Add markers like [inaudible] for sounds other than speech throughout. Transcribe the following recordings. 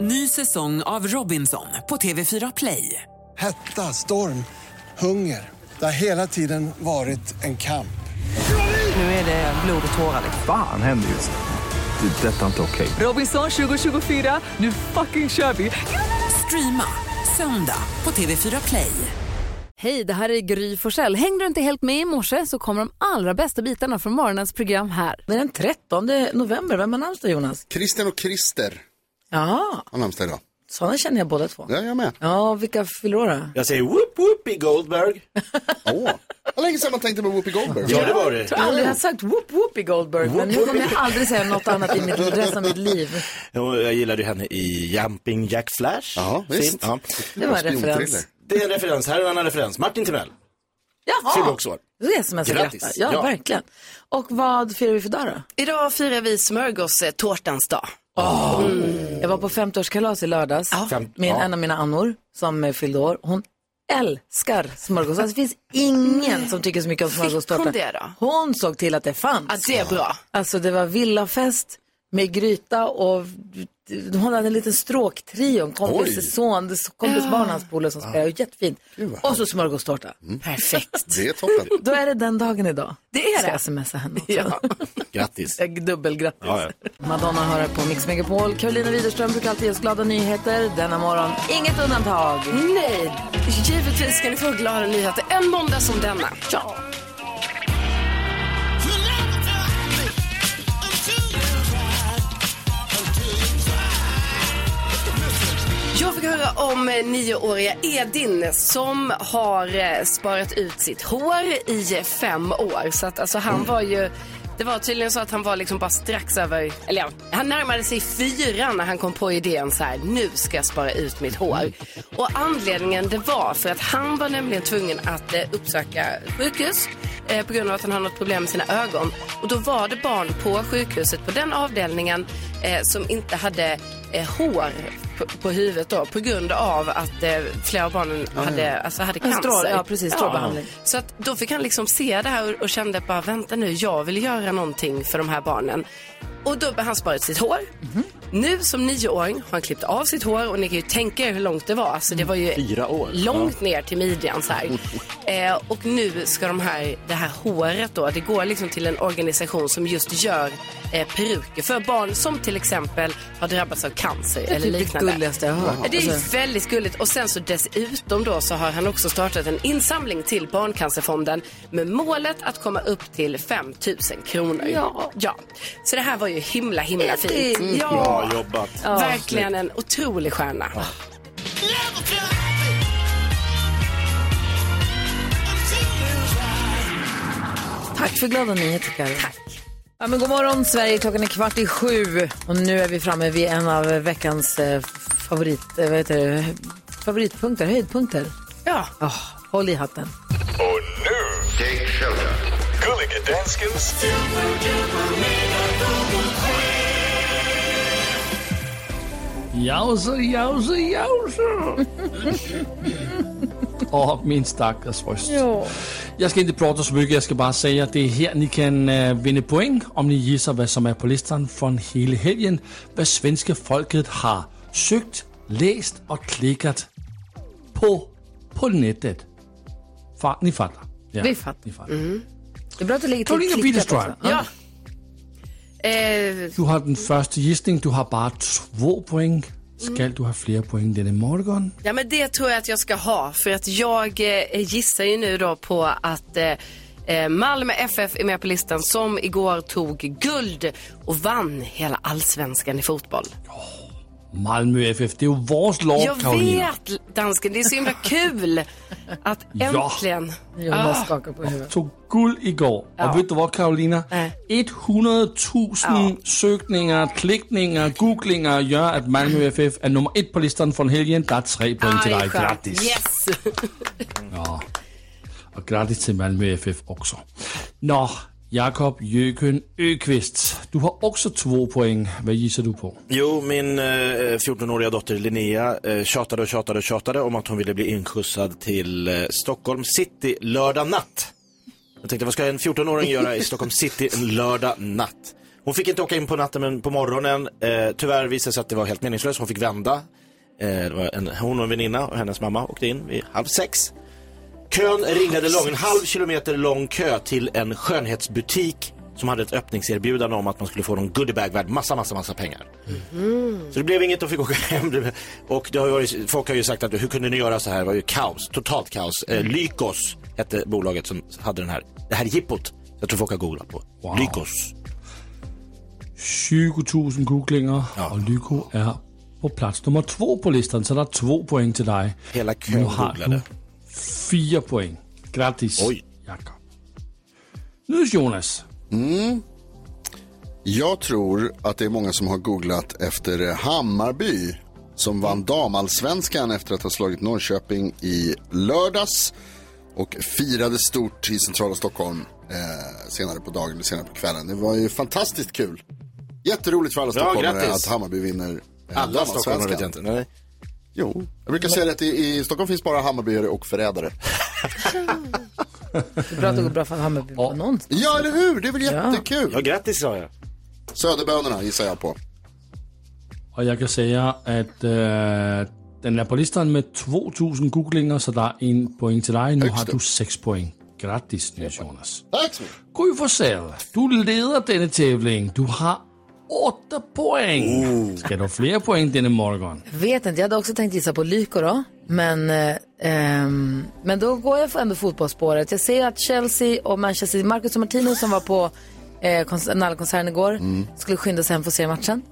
Ny säsong av Robinson på TV4 Play. Hetta, storm, hunger. Det har hela tiden varit en kamp. Nu är det blod och tårar. liksom. Fan händer just nu. Det. är Detta är inte okej. Robinson 2024, nu fucking kör vi! Streama söndag på TV4 Play. Hej, det här är Gry Forssell. Hängde du inte helt med i morse så kommer de allra bästa bitarna från morgonens program här. Det är den 13 november. Vem har namnsdag Jonas? Christian och Christer Ja, har namnsdag idag. sådana känner jag båda två. Ja, jag med. Ja, vilka fyller år då? Jag säger whoop whoopie Goldberg. [laughs] Åh, Vad länge sedan man tänkte på Whoopi Goldberg. Ja, det var Jag det. tror aldrig jag har sagt whoop whoop i Goldberg, men nu kommer jag aldrig säga något annat i mitt, resten av mitt liv. Och jag gillade ju henne i Jumping Jack Flash. Ja, visst. Ja. Det var en Spionthriller. referens. Det är en referens, här är en annan referens. Martin Timell, fyllde Jaha, också år. det är som jag ska Grattis. gratta. Ja, Ja. verkligen. Och vad firar vi för dag då? Idag firar vi smörgåstårtans dag. Mm. Jag var på 50-årskalas i lördags Fem- med ja. en av mina annor som eh, fyllde år. Hon älskar smörgåstårta. Alltså, det finns ingen som tycker så mycket om smörgåstårta. Mm. hon det då? Hon såg till att det fanns. Ja, det är bra. Alltså det var villafest med gryta och hon hade en liten stråktrio, en Oj. kompis son, det- kompis barn, Ah. hans polare som spelade, jättefint. Och så smörgåstårta. Perfekt. Det är toppen. Då är det den dagen idag. Mm. Det är Ska det. jag smsa henne också. Ja. [laughs] Grattis. Jag Dubbelgrattis. Ja, ja. Madonna hör här på Mix Megapol. Carolina Widerström brukar alltid ge oss glada nyheter. Denna morgon, inget undantag. Nej, givetvis ska ni få glada nyheter en måndag som denna. Ja. Jag fick höra om eh, nioåriga Edin som har eh, sparat ut sitt hår i eh, fem år. Så att alltså han var ju... Det var tydligen så att han var liksom bara strax över, eller ja, han närmade sig fyra när han kom på idén så här, nu ska jag spara ut mitt hår. Och anledningen det var för att han var nämligen tvungen att eh, uppsöka sjukhus eh, på grund av att han har något problem med sina ögon. Och då var det barn på sjukhuset på den avdelningen eh, som inte hade eh, hår på, på huvudet då, på grund av att eh, flera av Ah, barnen hade, alltså, hade En cancer. strål- ja, precis, strålbehandling. Så att då fick han liksom se det här och, och kände bara vänta nu, jag vill göra någonting för de här barnen. Och då har han sparat sitt hår. Mhm. Nu som nioåring har han klippt av sitt hår och ni kan ju tänka er hur långt det var. Alltså det var ju Mm. Fyra år. långt ner till midjan [laughs] så här. Eh, och nu ska de här, det här håret då, det går liksom till en organisation som just gör eh, peruker för barn som till exempel har drabbats av cancer Det är eller typ det liknande. gulligaste jag har hört. Ja, Det är ju Alltså- väldigt gulligt. Och sen så dessutom då så har han också startat en insamling till Barncancerfonden med målet att komma upp till 5 000 kronor. Ja. Så det här var ju himla, himla fint. Mm. Ja, Bra jobbat. verkligen en otrolig stjärna. Tack för glada nyheter, Karin. Tack. Ja, men god morgon, Sverige. Klockan är kvart i sju och nu är vi framme vid en av veckans eh, favorit, eh, vad heter det, favoritpunkter, höjdpunkter. Ja. Oh, håll i hatten. Och nu, Jake Shelton. Gullige danskens... Jause, jause, [laughs] jause. Åh, min stackars röst. Jag ska inte prata så mycket, jag ska bara säga att det är här ni kan äh, vinna poäng om ni gissar vad som är på listan från hela helgen. Vad svenska folket har sökt, läst och klickat på, på nätet. Fa- ni fattar. Ja, Vi fattar. Ni fattar. Det är bra att du lägger till Carolina klickat Widerström. också. Ja. Eh, Du har den första gissningen, du har bara två poäng. Ska du ha fler poäng denna morgon? Ja, men det tror jag att jag ska ha. För att jag eh, gissar ju nu då på att eh, eh, Malmö FF är med på listan som igår tog guld och vann hela allsvenskan i fotboll. Malmö FF, det är ju vårt lag, jag Karolina. vet, dansken. Det är så himla kul att Ja. äntligen... Ah. Jonas skakar på huvudet. tog guld igår. Och vet du vad Karolina? 100 000 sökningar, klickningar, googlingar gör att Malmö FF är nummer ett på listan från helgen. Det är tre poäng till dig. skönt. Grattis! Yes. Och grattis till Malmö FF också. Nå, Jakob Jöken Öqvist. Du har också två poäng. Vad gissar du på? Jo, min eh, 14-åriga dotter Linnea eh, tjatade och tjatade och tjatade om att hon ville bli inskjutsad till eh, Stockholm city lördag natt. Jag tänkte, vad ska en 14-åring göra i Stockholm city en lördag natt? Hon fick inte åka in på natten men på morgonen. Eh, tyvärr visade det sig att det var helt meningslöst. Hon fick vända. Eh, det var en, hon och en väninna och hennes mamma åkte in vid halv sex. Kön ringlade lång, en halv kilometer lång kö till en skönhetsbutik som hade ett öppningserbjudande om att man skulle få någon goodiebag värd massa, massa, massa pengar. Mm. Så det blev inget, de fick åka hem. Det- Och det har ju varit, folk har ju sagt att hur kunde ni göra så här? Det var ju kaos, totalt kaos. Eh, Lykos hette bolaget som hade den här, det här jippot. Jag tror folk har googlat på. Lykos. 20.000 googlinger, och Lyko är på plats nummer två på listan, så der er två poäng till dig. Hela Nu kön har googlade. du fyra poäng. Grattis, Oj. Jakob. Nu Jonas. Mm. Jag tror att det är många som har googlat efter eh, Hammarby som Mm. vann damallsvenskan efter att ha slagit Norrköping i lördags och firade stort i centrala Stockholm eh, senare på dagen, eller senare på kvällen. Det var ju fantastiskt kul. Jätteroligt för alla Ja, stockholmare grattis. att Hammarby vinner eh, Alla stockholmare vet jag damallsvenskan. inte. Nej. Jo, jag brukar säga det att i, i Stockholm finns bara Hammarbyare och förrädare. [laughs] Det är bra att det går bra för Hammarby på någonstans. Ja, eller hur? Det är väl jättekul? Ja, grattis sa jag. Söderbönorna gissar jag på. Og jeg kan sige, at øh, den er på listen med 2.000 googlinger, så der er en point til dig. Nu har du 6 point. Grattis, Niels Jonas. Tack så mycket. Gry Forssell, du leder denne tävling. Du har 8 point. Skal du have flere point denne morgen? Vet inte, jag hade också tänkt gissa på Lyko då. Men, eh, ehm, men då går jag för ändå fotbollsspåret. Jag ser att Chelsea och Manchester City, Marcus och Martino som var på eh, kons- Nallekonserten igår, Mm. Mm. skulle skynda sig hem för att se matchen.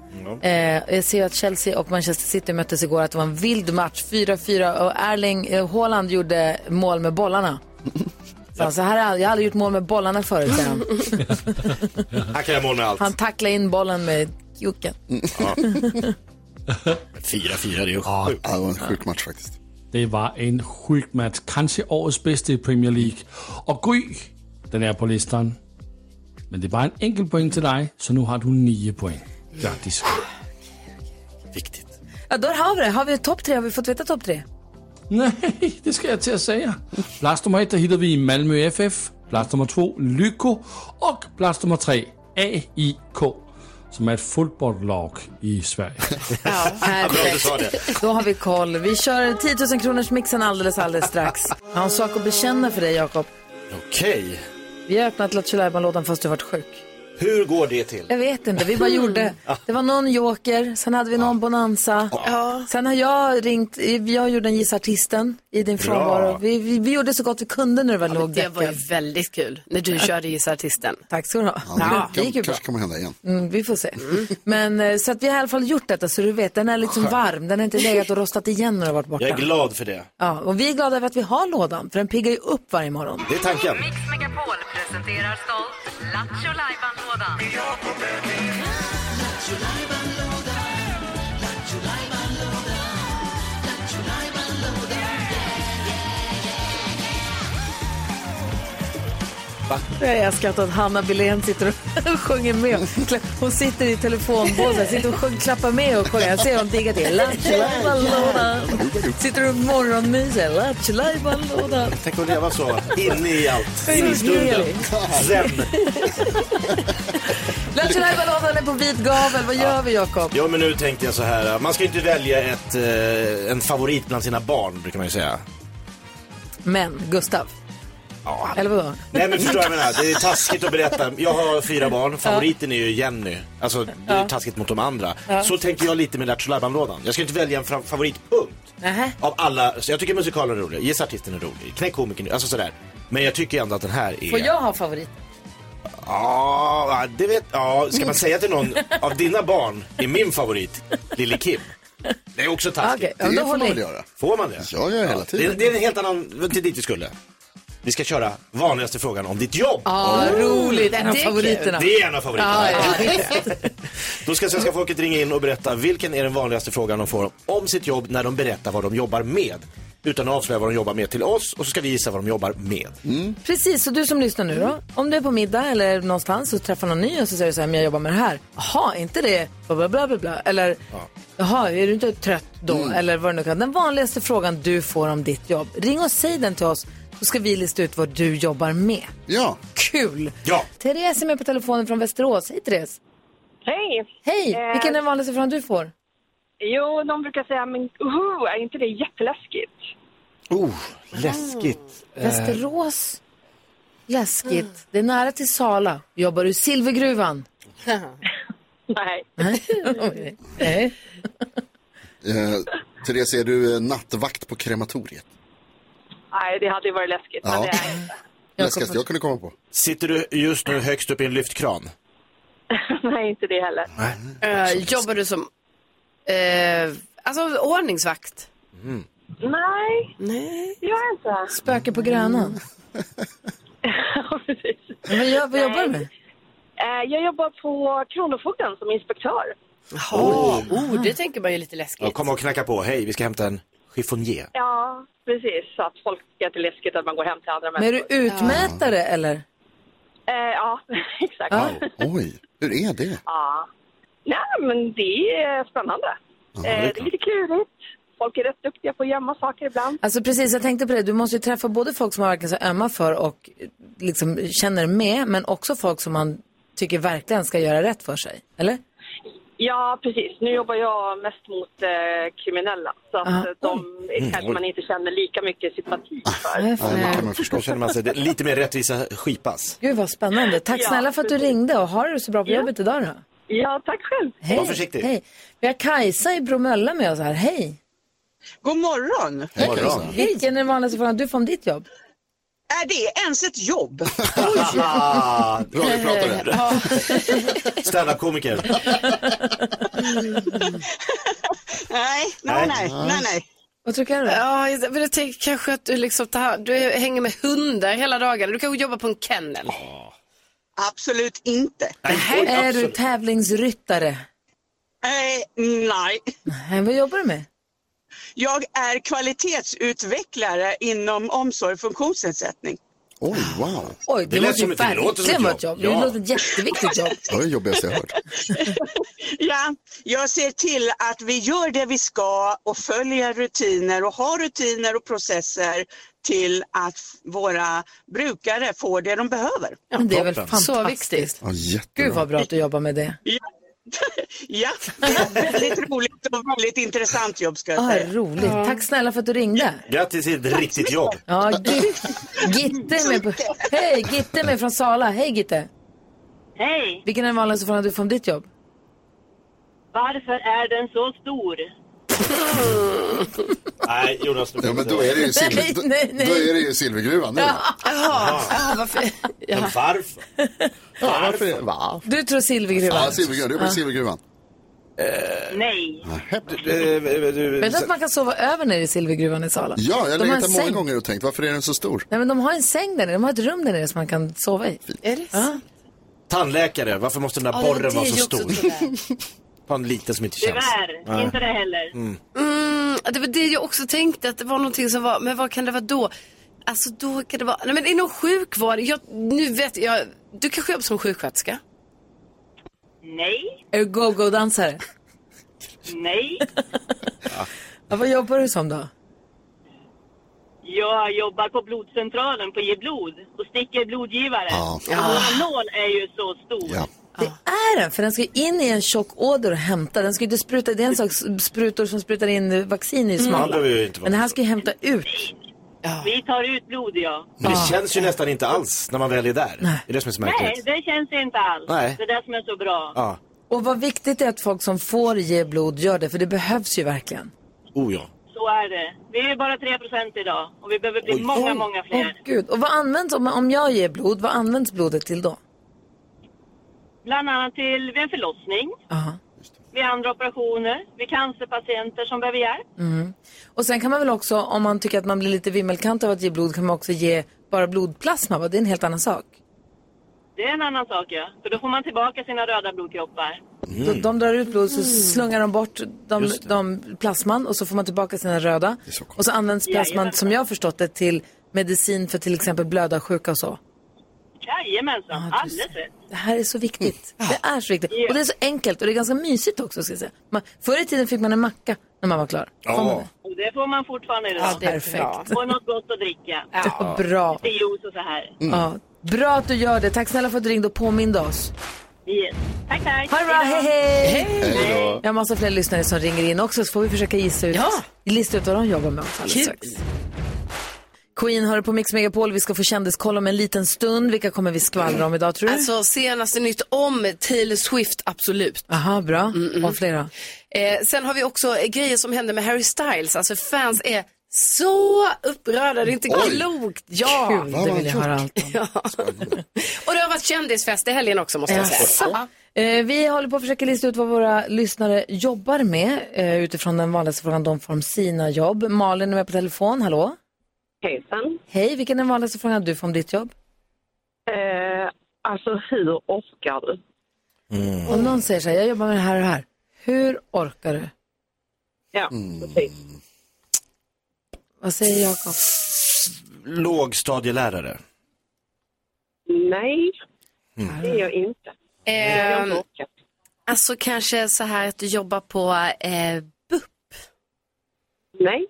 Eh, jag ser att Chelsea och Manchester City möttes igår, att det var en vild match, 4-4 och Erling eh, Haaland gjorde mål med bollarna. Så han, så här, har jag- jag har aldrig gjort mål med bollarna förut, säger han. Han kan göra mål med allt. Han tacklade in bollen med kuken. Ja. 4-4, det är ju sjukt. Ja, det var en sjuk match faktiskt. Det var en sjuk match. Kanskje årets bedste i Premier League. Og Gry, den er på listen. Men det er bare en enkelt point til dig, så nu har du 9 point. Grattis. Viktigt. Ja, då har vi det. Har vi topp tre? Har vi fått veta topp tre? Nej, det ska jag till att säga. Plats nummer ett där hittar vi Malmö FF, plats nummer två Lyko och plats nummer tre AIK som är ett fotbollslag i Sverige. Ja, Bra att du sa det. Då har vi koll. Vi kör 10 000 kronors mixen alldeles, alldeles strax. Jag har en sak att bekänna för dig, Jakob. Okej. Vi har öppnat Lattjo Lajban-lådan fast du varit sjuk. Hur går det till? Jag vet inte, vi bara gjorde. Det var någon joker, sen hade vi någon bonanza. Sen har jag ringt, jag gjorde en Gissa Artisten i din frånvaro. Vi, vi, vi gjorde så gott vi kunde när du var låg Det var ju däckad. väldigt kul när du körde Gissa Artisten. Tack ska du ha. Ja, det gick ju bra. kanske kommer hända igen. Mm, vi får se. Men eh, så att vi har i alla fall gjort detta så du vet, den är liksom varm. Den har inte legat och rostat igen när du har varit borta. Jag är glad för det. Ja, och vi är glada över att vi har lådan, för den piggar ju upp varje morgon. Det är tanken. Megapol presenterar stolt Lattjo Lajban-lådan. Jag älskar att Hanna Billén sitter och [laughs] sjunger med. Hon sitter i telefonbåsen, sitter och sjung, klappar med och sjunger. Jag ser hon diggar det. Lattjo-lajban-lådan. Sitter och morgonmyser. Lattjo-lajban-lådan. Tänk att leva så. Inne i allt. Inne i stunden. Zen. Lattjo-lajban-lådan är på vit gavel. Vad gör vi, Jakob? Ja, men nu tänkte jag så här. Man ska ju inte välja ett, eh, en favorit bland sina barn, brukar man ju säga. Men, Gustav. Eller vadå? Nej, men förstår jag vad jag menar? Det är taskigt att berätta. Jag har fyra barn. Favoriten är ju Jenny. Alltså, det är ju taskigt mot de andra. Så tänker jag lite med Lattjo lådan Jag ska inte välja en fra- favoritpunkt. Nähä. Av alla. Så jag tycker musikalen är rolig. Gissartisten är rolig. Knäck komikern. Alltså sådär. Men jag tycker ändå att den här är... Får jag ha favorit? Ja, det vet Ja, Mm. ska man säga till någon av dina barn är min favorit, Lille Kim? Det är också taskigt. Okej, ja, Det då får man håller väl jag. göra. Får man det? Ja, ja, hela Det, tiden. det är en helt annan... Det var inte dit vi skulle. Vi ska köra vanligaste frågan om ditt jobb. Oh. Ah, roligt. En av Det är kul. favoriterna. Det är en av favoriterna. Ja, ja. Då ska svenska folket ringa in och berätta vilken är den vanligaste frågan de får om sitt jobb när de berättar vad de jobbar med. Utan att avslöja vad de jobbar med till oss och så ska vi gissa vad de jobbar med. Precis, så du som lyssnar nu då. Om du är på middag eller någonstans och träffar någon ny och så säger du så här, men jag jobbar med det här. Jaha, är inte det bla bla bla bla bla. Eller, jaha, är du inte trött då? Eller vad det nu kan. Den vanligaste frågan du får om ditt jobb. Ring och säg den till oss så ska vi lista ut vad du jobbar med. Ja, Kul! Ja, Therese är med på telefonen från Västerås. Hej Therese! Hej! Eh, Hej! Vilken är den vanligaste frågan du får? Jo, de brukar säga, men uhu, är inte det jätteläskigt? Oh, läskigt. Eh. Mm. Eh, Västerås. Läskigt. Det är nära till Sala. Jobbar du i silvergruvan? Nej. Nej. Eh, Therese, är du eh, nattvakt på krematoriet? Nej, det hade ju varit läskigt. Men Ja. [laughs] det är inte. Läskigaste jag kunde komma på. Sitter du just nu högst upp i en lyftkran? [laughs] Nej, inte det heller. Nej. jobbar du som eh, alltså, ordningsvakt? Mm. Nej. Nej. Det gör jag inte. Spöke [laughs] på Grönan. Vad gör- vad jobbar du med? Eh, Jag jobbar på Kronofogden som inspektör. Åh. Oh, det tänker man ju lite läskigt. Ja, kom och knacka på. Hej, vi ska hämta en chiffonier. Ja, precis. Så att folk tycker att det är läskigt att man går hem till andra Men är du människor. utmätare eller? Ja, eh, ja [laughs] exakt. Ja. Oj, hur är det? Nej, men det är spännande. Ja, det, det är är det är lite klurigt. Folk är rätt duktiga på att gömma saker ibland. Alltså precis, jag tänkte på det. Du måste ju träffa både folk som man verkligen så ömmar för och eh, liksom känner med, men också folk som man tycker verkligen ska göra rätt för sig. Eller? Ja, precis. Nu jobbar jag mest mot eh, kriminella. Så att Aha. eh, de Mm, kanske oj. man inte känner lika mycket sympati Ah, för. Då känner man sig det- lite mer rättvisa skipas. Gud vad spännande. Tack Ja, snälla för att du ringde och har det så bra på jobbet idag då. Ja, tack själv. Hej. Hej. Vi har Kajsa i Bromölla med oss här. Hej. God morgon! Hej, Kajsa. Vilken är den vanligaste frågan du får om ditt jobb? Är Äh, det ens ett [laughs] jobb? [laughs] Bra, vi Ja. pratade. Standup-komiker. Nej, nej, nej, nej, nej. Vad tycker du? Ja, jag men jag tänker kanske att du, liksom, det här, du hänger med hundar hela dagarna. Du kanske jobbar på en kennel. Absolut inte. är du tävlingsryttare? Eh, nej, Nej, vad jobbar du med? jag är kvalitetsutvecklare inom omsorg och funktionsnedsättning. Oj, wow. Oj, det, måste ju verkligen vara ett jobb. Det låter ett jätteviktigt jobb. Det var det jobbigaste jag hört. Ja, jag ser till att vi gör det vi ska och följer rutiner och har rutiner och processer till att våra brukare får det de behöver. Men det är väl fantastiskt. Så viktigt. Ja, jättebra. Gud vad bra att du jobbar med det. Ja, det är ett väldigt roligt och väldigt intressant jobb ska jag Ah, säga. roligt. Tack snälla för att du ringde. Grattis till ett riktigt jobb. Ja, Git- Gitte är med på... Hej, Gitte är med från Sala. Hej Gitte. Hej! Vilken är den vanligaste frågan du får om ditt jobb? Varför är den så stor? Nej, Jonas. Ja, men då är det ju, silver, Nej, då, nej, nej. då är det ju silvergruvan nu. Jaha, Ah, ja, varför? Men varför? Varför? Va? Du tror silvergruvan. Ja, silvergruvan. Det är på silvergruvan. Eh, Nej. Vet du att man kan sova över nere i silvergruvan i Sala? Eh, Ja, jag har De har legat en där många säng. gånger och tänkt, varför är den så stor? Nej, men de har en säng där nere. De har ett rum där nere som man kan sova i. Är det ja. Tandläkare, varför måste den där borren vara så stor? Ta en liten som inte känns. Nej. heller. Mm. Mm, det var det jag också tänkte, att det var någonting som var, men vad kan det vara då? Alltså då kan det vara, nej men inom sjukvård, jag, nu vet jag, du kanske jobbar som sjuksköterska? Nej. Är du go-go-dansare? Nej. Ja, vad jobbar du som då? Jag jobbar på blodcentralen på att ge blod och sticker blodgivare. Ja. Och vår nål är ju så stor. Är den? För den ska ju in i en tjock åder och hämta. Den ska ju inte spruta. Det är en sak sprutor som sprutar in vaccin Mm. i Ja, det smala. behöver ju inte vara men den här ska ju hämta ut. Vi tar ut blod, ja. Men det känns ju nästan inte alls när man väl är där. Det är det som är så Nej, märkligt. det känns inte alls. Nej. Det är det som är så bra. Ja. Och vad viktigt det är att folk som får ge blod gör det, för det behövs ju verkligen. Oh ja. Så är det. Vi är bara 3% idag och vi behöver bli många, många Åh fler. gud. Och vad används, om, om jag ger blod, vad används blodet till då? Bland annat till vid en förlossning, Aha. vid andra operationer, vid cancerpatienter som behöver hjälp. Mm. Och sen kan man väl också, om man tycker att man blir lite vimmelkant av att ge blod, kan man också ge bara blodplasma, va? det är en helt annan sak. Det är en annan sak, ja. För då får man tillbaka sina röda blodkroppar. De, de drar ut blod så slungar de bort de, Mm. Just det. de plasman och så får man tillbaka sina röda. och så används plasman, Jajamän. som jag har förstått det, till medicin för till exempel blödarsjuka och så. Jajamensan, Ja, precis. alldeles rätt. Det här är så viktigt. Mm. Det är så viktigt. Och det är så enkelt och det är ganska mysigt också. Ska jag säga. Man, förr i tiden fick man en macka när man var klar. Får man det? Och det får man fortfarande idag. Ja, det är Perfekt. bra. Och något gott att dricka. Ja, [laughs] Mm. bra. Lite juice och så här. Ja. Bra att du gör det. Tack snälla för att du ringde och påminde oss. Yes. Tack, tack. Ha det bra, hej hej! Hej då. Jag har massa fler lyssnare som ringer in också så får vi försöka gissa ut, Ja. lista ut vad de jobbar med också alldeles strax. Queen hör på Mix Megapol, vi ska få kändiskoll om en liten stund. Vilka kommer vi skvallra om idag tror du? Alltså senaste nytt om Taylor Swift, absolut. Aha, bra. Och flera. Eh, sen har vi också eh, grejer som hände med Harry Styles. Alltså fans är så upprörda, det är inte Oj. klokt. Ja. Kul, det vill jag höra allt om. Ja. Och det har varit kändisfest i helgen också måste jag Jaså? säga. Eh, vi håller på att försöka lista ut vad våra lyssnare jobbar med eh, utifrån den vanligaste frågan de får om sina jobb. Malin är med på telefon, hallå? Hejsan. Hej, vilken är den vanligaste frågan du får om ditt jobb? Eh, alltså hur orkar du? Om någon säger så här, jag jobbar med det här och det här. Hur orkar du? Ja, Mm. precis. Vad säger Jakob? Lågstadielärare. Nej, Mm. det är jag inte. Ehm, alltså kanske så här att du jobbar på eh, Nej.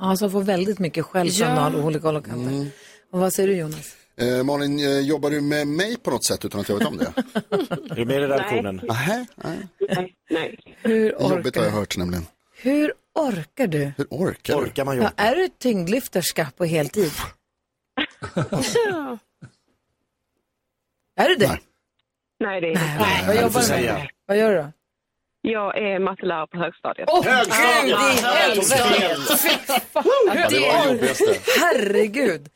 Ja, som får väldigt mycket skäll från Ja. all- olika håll och kanter. Och vad säger du Jonas? Mm. Eh, Malin, eh, jobbar du med mig på något sätt utan att jag vet om det? [laughs] Är du med i redaktionen? Nej. Hur Det jobbet orkar, har jag hört nämligen. hur orkar du? Hur orkar, orkar man Ja, är du tyngdlyfterska på heltid? är du det? Nej, det är inte. Nej, vad jobbar du med? Vad gör du då? Jag är mattelärare på högstadiet. Åh, gud i helvete! Fy fan, Ja, det var det jobbigaste. Herregud.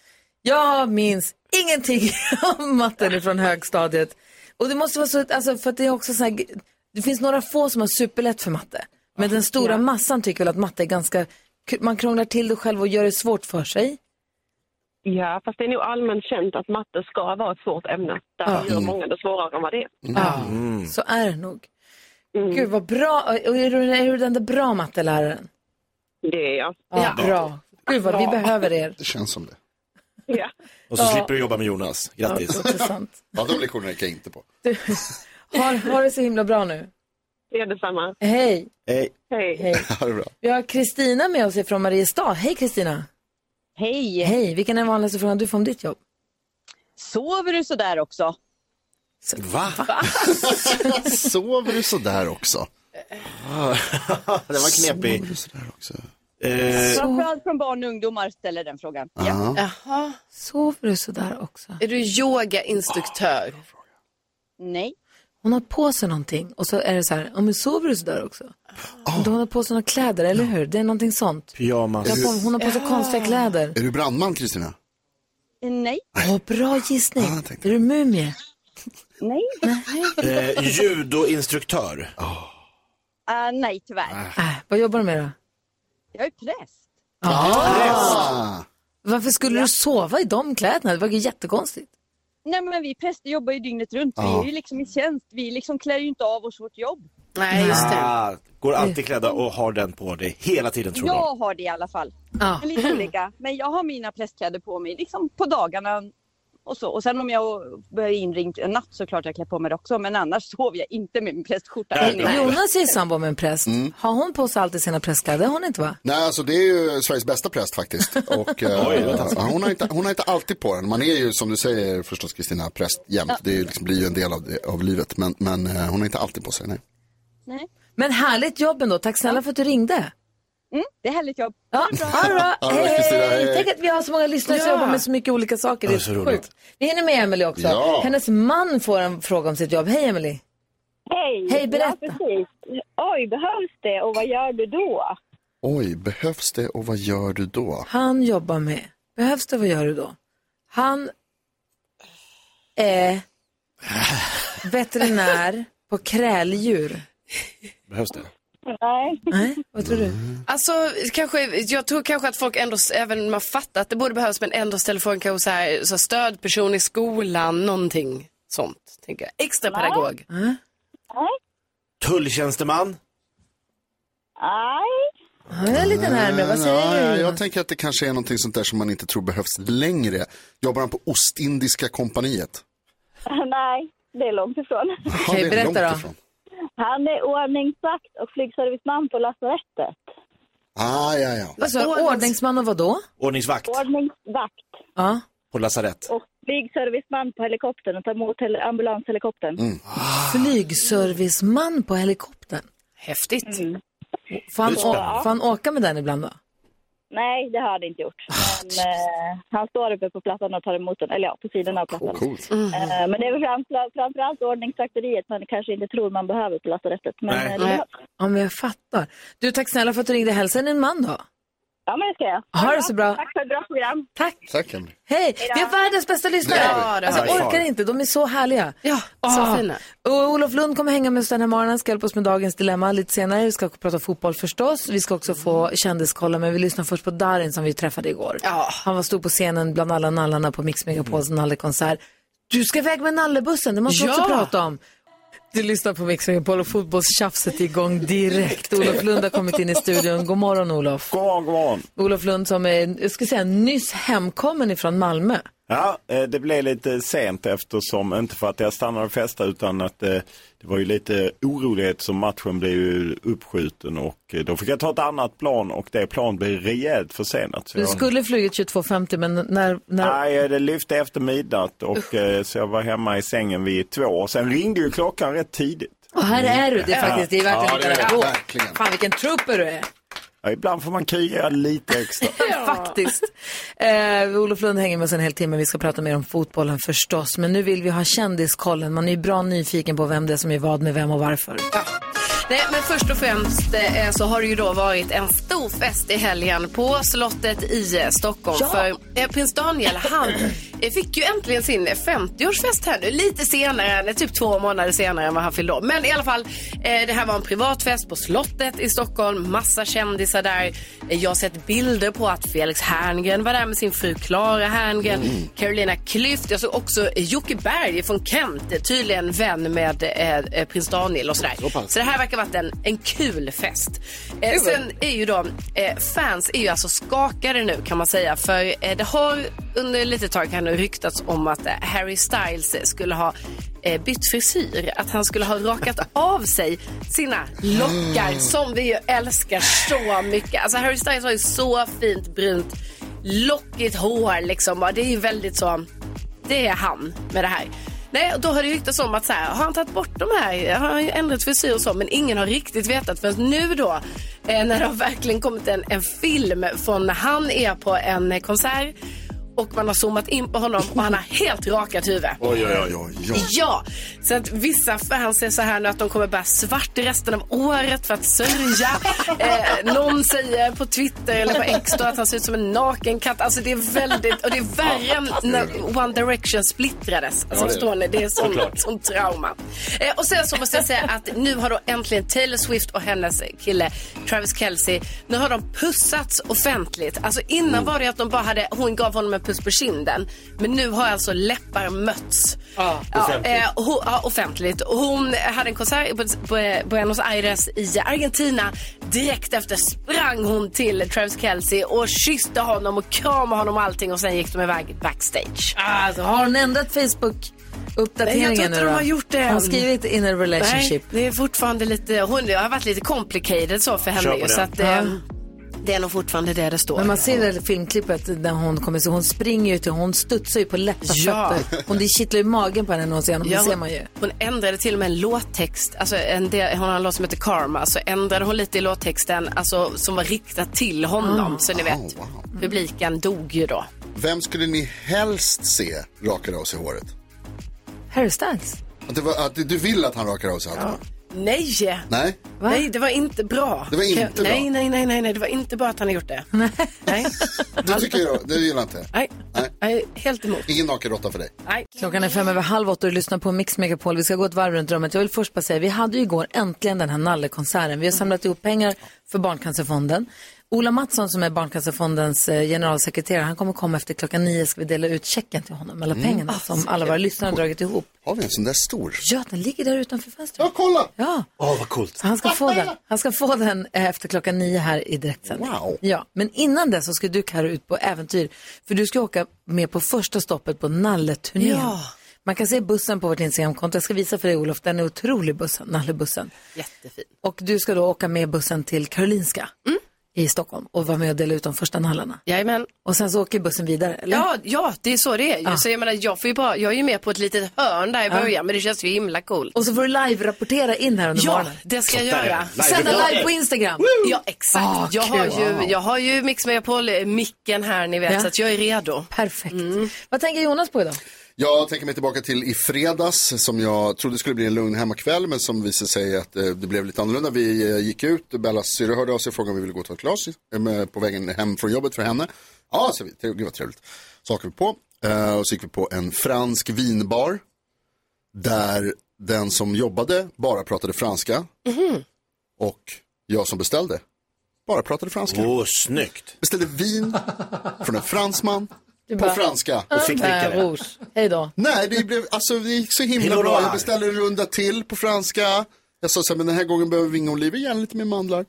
Jag minns ingenting [laughs] om matten från högstadiet. Och det måste vara så, alltså, för att det är också så här, det finns några få som har superlätt för matte. Men den stora massan tycker väl att matte är ganska, kul. man krånglar till det själv och gör det svårt för sig. Ja, fast det är nog allmänt känt att matte ska vara ett svårt ämne. Därför gör många det svårare än vad det är. Ja, Mm. Mm. så är det nog. Gud vad bra, och är du, är du den där bra matteläraren? Det är jag. Ja, bra. Gud vad vi Ja. behöver er. Det känns som det. Ja. Och så Ja. slipper du jobba med Jonas. Grattis. Ja, det är sant. Ja, de lektionerna gick jag inte på. Ha, ha det så himla bra nu. Det är detsamma. Hej. Hej. Hej. Hej. Ha det bra. Vi har Kristina med oss från Mariestad. Hej Kristina. Hej. Hej. Vilken är den vanligaste frågan du får om ditt jobb? Sover du sådär också? [laughs] Va? [laughs] Sover du sådär också? Eh, det var knepig. Sover Eh, du sådär också? Framförallt från barn och ungdomar ställer den frågan. Ja. Jaha. Sover du sådär också? Är du yogainstruktör? Nej. Hon har på sig någonting och så är det så här, ja men sover du sådär också? Ah. Hon har på sig några kläder, eller hur? Det är någonting sånt. Pyjamas. Jag har på, hon har på sig konstiga kläder. Är du brandman, Kristina? Eh, Nej. Åh, bra gissning. är du mumie? Nej. Eh, judoinstruktör. Ah, nej, tyvärr. Äh, vad jobbar du med då? Jag är präst. Ah. Varför skulle du sova i de kläderna? Det var ju jättekonstigt. Nej, men vi präster jobbar ju dygnet runt. Vi Ja. är ju liksom i tjänst. Vi liksom klär ju inte av oss vårt jobb. Ah, går alltid klädda och har den på dig hela tiden tror jag. Jag har det i alla fall. Ah. Lite olika. Men jag har mina prästkläder på mig liksom på dagarna och så. Och sen om jag börjar inringd en natt så klart jag klär på mig det också. Men annars sover jag inte med min prästskjorta. Eh, Jonas är ju sambo med en präst. Mm. Har hon på sig alltid sina prästkläder? Det har hon inte va? Nej, alltså det är ju Sveriges bästa präst faktiskt. Och, eh, Oj, vad ja, hon, har inte, hon har inte alltid på den. Man är ju som du säger förstås Kristina, präst jämt. Ja. Det är ju liksom, blir ju en del av, det, av livet. Men, men eh, hon har inte alltid på sig, nej. Men härligt jobb ändå. Tack snälla för att du ringde. Mm, det är härligt jobb. Ja, ha det bra. Ha det bra, Kristina. eh, Hej. Hej. Tänk att vi har så många lyssnare som Ja. jobbar med så mycket olika saker. Det Ja, så är roligt. sjukt. Vi hinner med Emily också. Ja. Hennes man får en fråga om sitt jobb. Hej Emily. Hej! Hej, berätta. Ja, precis. Oj, behövs det och vad gör du då? [laughs] Oj, behövs det och vad gör du då? Han jobbar med, behövs det, vad gör du då? Han [laughs] är veterinär på kräldjur. Behövs det? Nej. Nej, vad tror du? Alltså, kanske, jag tror kanske att folk ändå, även om man fattar att det borde behövas, men ändå ställer frågan kanske så här, så här, stödperson i skolan, någonting sånt. Tänker jag. Extra pedagog. Äh? Tulltjänsteman. Jag är lite närmare. Vad säger du? Jag tänker att det kanske är någonting sånt där som man inte tror behövs längre. Jobbar han på Ostindiska kompaniet? Nej, det är långt ifrån. Okej, det är berätta långt då. ifrån. Han är ordningsvakt och flygserviceman på lasarettet. Ah, ja, ja. Vad sa du? Ordningsman och vadå? Ordningsvakt Ordningsvakt Ja. på lasarett. och flygserviceman flygserviceman på helikoptern och tar emot hel- ambulanshelikoptern. Mm. Flygserviceman på helikoptern. Häftigt. Mm. Får han, Det är spännande. å- får han åka med den ibland då? Nej, det har han inte gjort. Men, eh, han står uppe på plattan och tar emot den, eller ja, på sidan av plattan. Coolt. Eh, men det är väl framför, framförallt ordningsvakteriet man kanske inte tror man behöver på lasarettet. Men eh, det behövs. Ja, men jag fattar. Du, tack snälla för att du ringde. Hälsa en man då. Ja, men det ska jag. Ha det så bra. Tack för ett bra program. Tack. Tack Henry. Hej! Vi har världens bästa lyssnare. Det har vi. alltså, Ja, det har jag vi. orkar inte, de är så härliga. Ja, så fina. Och Olof Lund kommer hänga med oss den här morgonen, ska hjälpa oss med dagens dilemma lite senare. Vi ska prata fotboll förstås. Vi ska också få kändiskolla, men vi lyssnar först på Darin som vi träffade igår. Han var stor på scenen bland alla nallarna på Mix Mm. Megapols nallekonsert. Du ska iväg med nallebussen, det måste vi också Ja. prata om. Du lyssnar på Mix Megapol och fotbollstjafset är igång direkt. Olof Lund har kommit in i studion. God morgon Olof. God morgon, god morgon. Olof Lund som är, jag ska säga, nyss hemkommen ifrån Malmö. Ja, eh, det blev lite sent eftersom, inte för att jag stannade och festade utan att eh, det var ju lite orolighet som matchen blev ju uppskjuten och eh, då fick jag ta ett annat plan och det plan blev rejält försenat. Så Du jag, skulle flugit 22.50 men när, när Nej, eh, det lyfte efter midnatt och eh, så jag var hemma i sängen vid två och sen ringde ju klockan rätt tidigt. Och här är du, det är Ja. faktiskt, det är verkligen Ja, det är lite det, bra. Fan vilken trooper du är. Ja, ibland får man kriga lite extra. Faktiskt. Eh, Olof Lund hänger med oss en hel timme. Vi ska prata mer om fotbollen förstås. Men nu vill vi ha kändiskollen. Man är ju bra nyfiken på vem det är som är vad med vem och varför. Nej, men först och främst eh, så har det ju då varit en stor fest i helgen på slottet i eh, Stockholm. Ja. För eh, prins Daniel, han eh, fick ju äntligen sin 50-årsfest här nu. Lite senare, eh, typ två månader senare än vad han fyllde år. Men i alla fall, eh, det här var en privatfest på slottet i Stockholm. Massa kändisar där. Eh, Jag har sett bilder på att Felix Herngren var där med sin fru Clara Herngren. Mm. Carolina Klüft. Jag såg också Jocke Berg från Kent, tydligen vän med eh, eh, prins Daniel och sådär. Så pass. Så det här verkar ha varit en, en kul fest. Eh, Kul. sen är ju de, eh, fans är ju alltså skakade nu kan man säga. För eh, det har under lite tag här nu ryktats om att eh, Harry Styles skulle ha eh, bytt frisyr. Att han skulle ha rakat av sig sina lockar Mm. som vi ju älskar så mycket. Alltså Harry Styles har ju så fint brunt lockigt hår liksom. Och Det är ju väldigt så, det är han med det här. Nej, och då har det ryktats om att så här, har han tagit bort de här, har han ju ändrat frisyr och så, men ingen har riktigt vetat förrän nu då, eh, när det har verkligen kommit en, en film från när han är på en eh, konsert och man har zoomat in på honom och han har helt rakat huvud. Oj, oj, oj, oj. oj. Ja, så att vissa fans säger så här nu att de kommer bära svart resten av året för [laughs] att sörja. eh, någon säger på Twitter eller på X då att han ser ut som en naken katt. Alltså det är väldigt, och det är värre än när One Direction splittrades. Ja, Alltså det är förstår det. ni, det är sån, Såklart. sån trauma. Eh, och sen så måste jag säga att nu har då äntligen Taylor Swift och hennes kille Travis Kelce, nu har de pussats offentligt. Alltså innan Mm. var det att de bara hade, hon gav honom en puss på kinden. Men nu har alltså läppar mötts. offentligt. eh, hon, ja, offentligt. Hon hade en konsert i Bu- Bu- Buenos Aires i Argentina. Direkt efter sprang hon till Travis Kelce och kysste honom och kramade honom och allting och sen gick de iväg backstage. Alltså, har hon ändrat Facebook-uppdateringen Nej, jag tror nu inte de då? har gjort det Har än. hon skrivit in a relationship? Nej, det är fortfarande lite, hon har varit lite complicated så för Kör henne på ju, det. så att Ja. eh, det är nog fortfarande det det står. Men man ser det här filmklippet när hon kommer så hon springer ju till, hon studsar ju på lätta Ja. fötter. Hon, det kittlar ju magen på henne när hon ser honom, Ja, det hon, ser man ju. hon ändrade till och med en låttext, alltså en del, hon har en låt som heter Karma, så ändrade hon lite i låttexten alltså, som var riktad till honom. Ah. Så ni vet, Ah, publiken dog ju då. Vem skulle ni helst se rakade av sig håret? Harry Styles? Att, det var, att du vill att han rakar av sig allt? hår? Nej! Nej? Nej, det var inte bra. Det var inte Kan- bra. Nej, nej, nej, nej, nej, det var inte bra att han har gjort det. Det tycker jag, det gillar jag inte. Nej. Nej. Helt emot. Ingen naken råtta för dig. Klockan är fem över halv åtta och du lyssnar på Mix Megapol. Vi ska gå ett varv runt rummet. Jag vill först bara säga, vi hade ju igår äntligen den här nallekonserten. Vi har samlat ihop pengar för Barncancerfonden. Ola Mattsson som är Barncancerfondens eh, generalsekreterare, han kommer komma efter klockan nio. Ska vi dela ut checken till honom, alla Mm. pengarna som alla våra lyssnare har dragit ihop. Har vi en sån där stor? Ja, den ligger där utanför fönstret. Ja, kolla! Ja. Åh, vad coolt. Så han ska få den, han ska få den eh, efter klockan nio här i direktsändning. Wow. Ja, men innan det så ska du Karo ut på äventyr. För du ska åka med på första stoppet på Nalleturnén. Ja. Man kan se bussen på vårt Instagramkonto. Jag ska visa för dig Olof, den är otrolig bussen, Nallebussen. Jättefin. Och du ska då åka med bussen till Karolinska i Stockholm och var med och delade ut de första nallarna. Mm. Jajamän. Och sen så åker bussen vidare, eller? Ah. Ja, ja, det är så det är ju. Så jag menar, jag, får ju bara, jag är ju med på ett litet hörn där i Ja. början, men det känns ju himla coolt. Ah. Och så får du live-rapportera in här under Ja, morgonen. det ska jag göra. Sända live på Instagram. Ja, exakt. Ah, jag, har kul. ju, jag har ju Mix Megapol-micken här, ni vet, Ja. så att jag är redo. Mm. Perfekt. Vad tänker Jonas på idag? Jag tänker mig tillbaka till i fredags som jag trodde skulle bli en lugn hemmakväll men som visade sig att eh, det blev lite annorlunda. Vi eh, gick ut, Bellas syrra hörde av sig och frågade om vi ville gå och ta ett glas eh, med- på vägen hem från jobbet för henne. Ja, så vi. Tre- Gud vad trevligt. Så åker vi på eh, och så gick vi på en fransk vinbar där den som jobbade bara pratade franska Mhm. och jag som beställde bara pratade franska. Åh, snyggt. Beställde vin från en fransman Du på bara- franska. Och fick dricka det. Ah, rouge. Hej då. Nej, det, blev, alltså, det gick så himla Hej då. bra. Jag beställde en runda till på franska. Jag sa så här, men den här gången behöver vi inga oliver, gärna lite mer mandlar.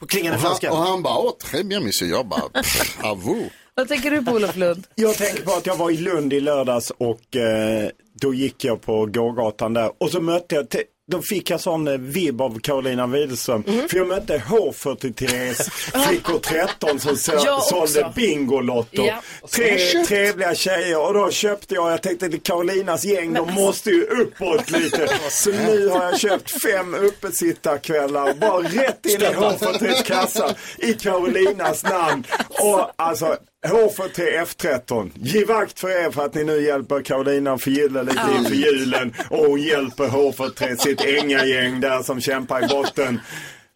På klingande och franska? Han, och han bara, åh, très bien monsieur. Jag bara, pff, à vous. Vad tänker du på Olof Lund? Jag tänker på att jag var i Lund i lördags och eh, då gick jag på gågatan där och så mötte jag, te- då fick jag sån eh, vibb av Carolina Widerström. Mm. För jag mötte [laughs] H43s flickor 13 som så, Jag sålde också. Bingolotto. Ja. Tre Vad köpt? trevliga tjejer och då köpte jag, jag tänkte det är Carolinas gäng, de Men- alltså- måste ju uppåt [laughs] lite. Så nu har jag köpt fem uppesittarkvällar, bara rätt in i H43s kassa i Carolinas namn. Och alltså H43 F13, ge vakt för er för att ni nu hjälper Carolina att förgylla lite Ja. inför julen. Och hon hjälper H43 sitt ängagäng där som kämpar i botten.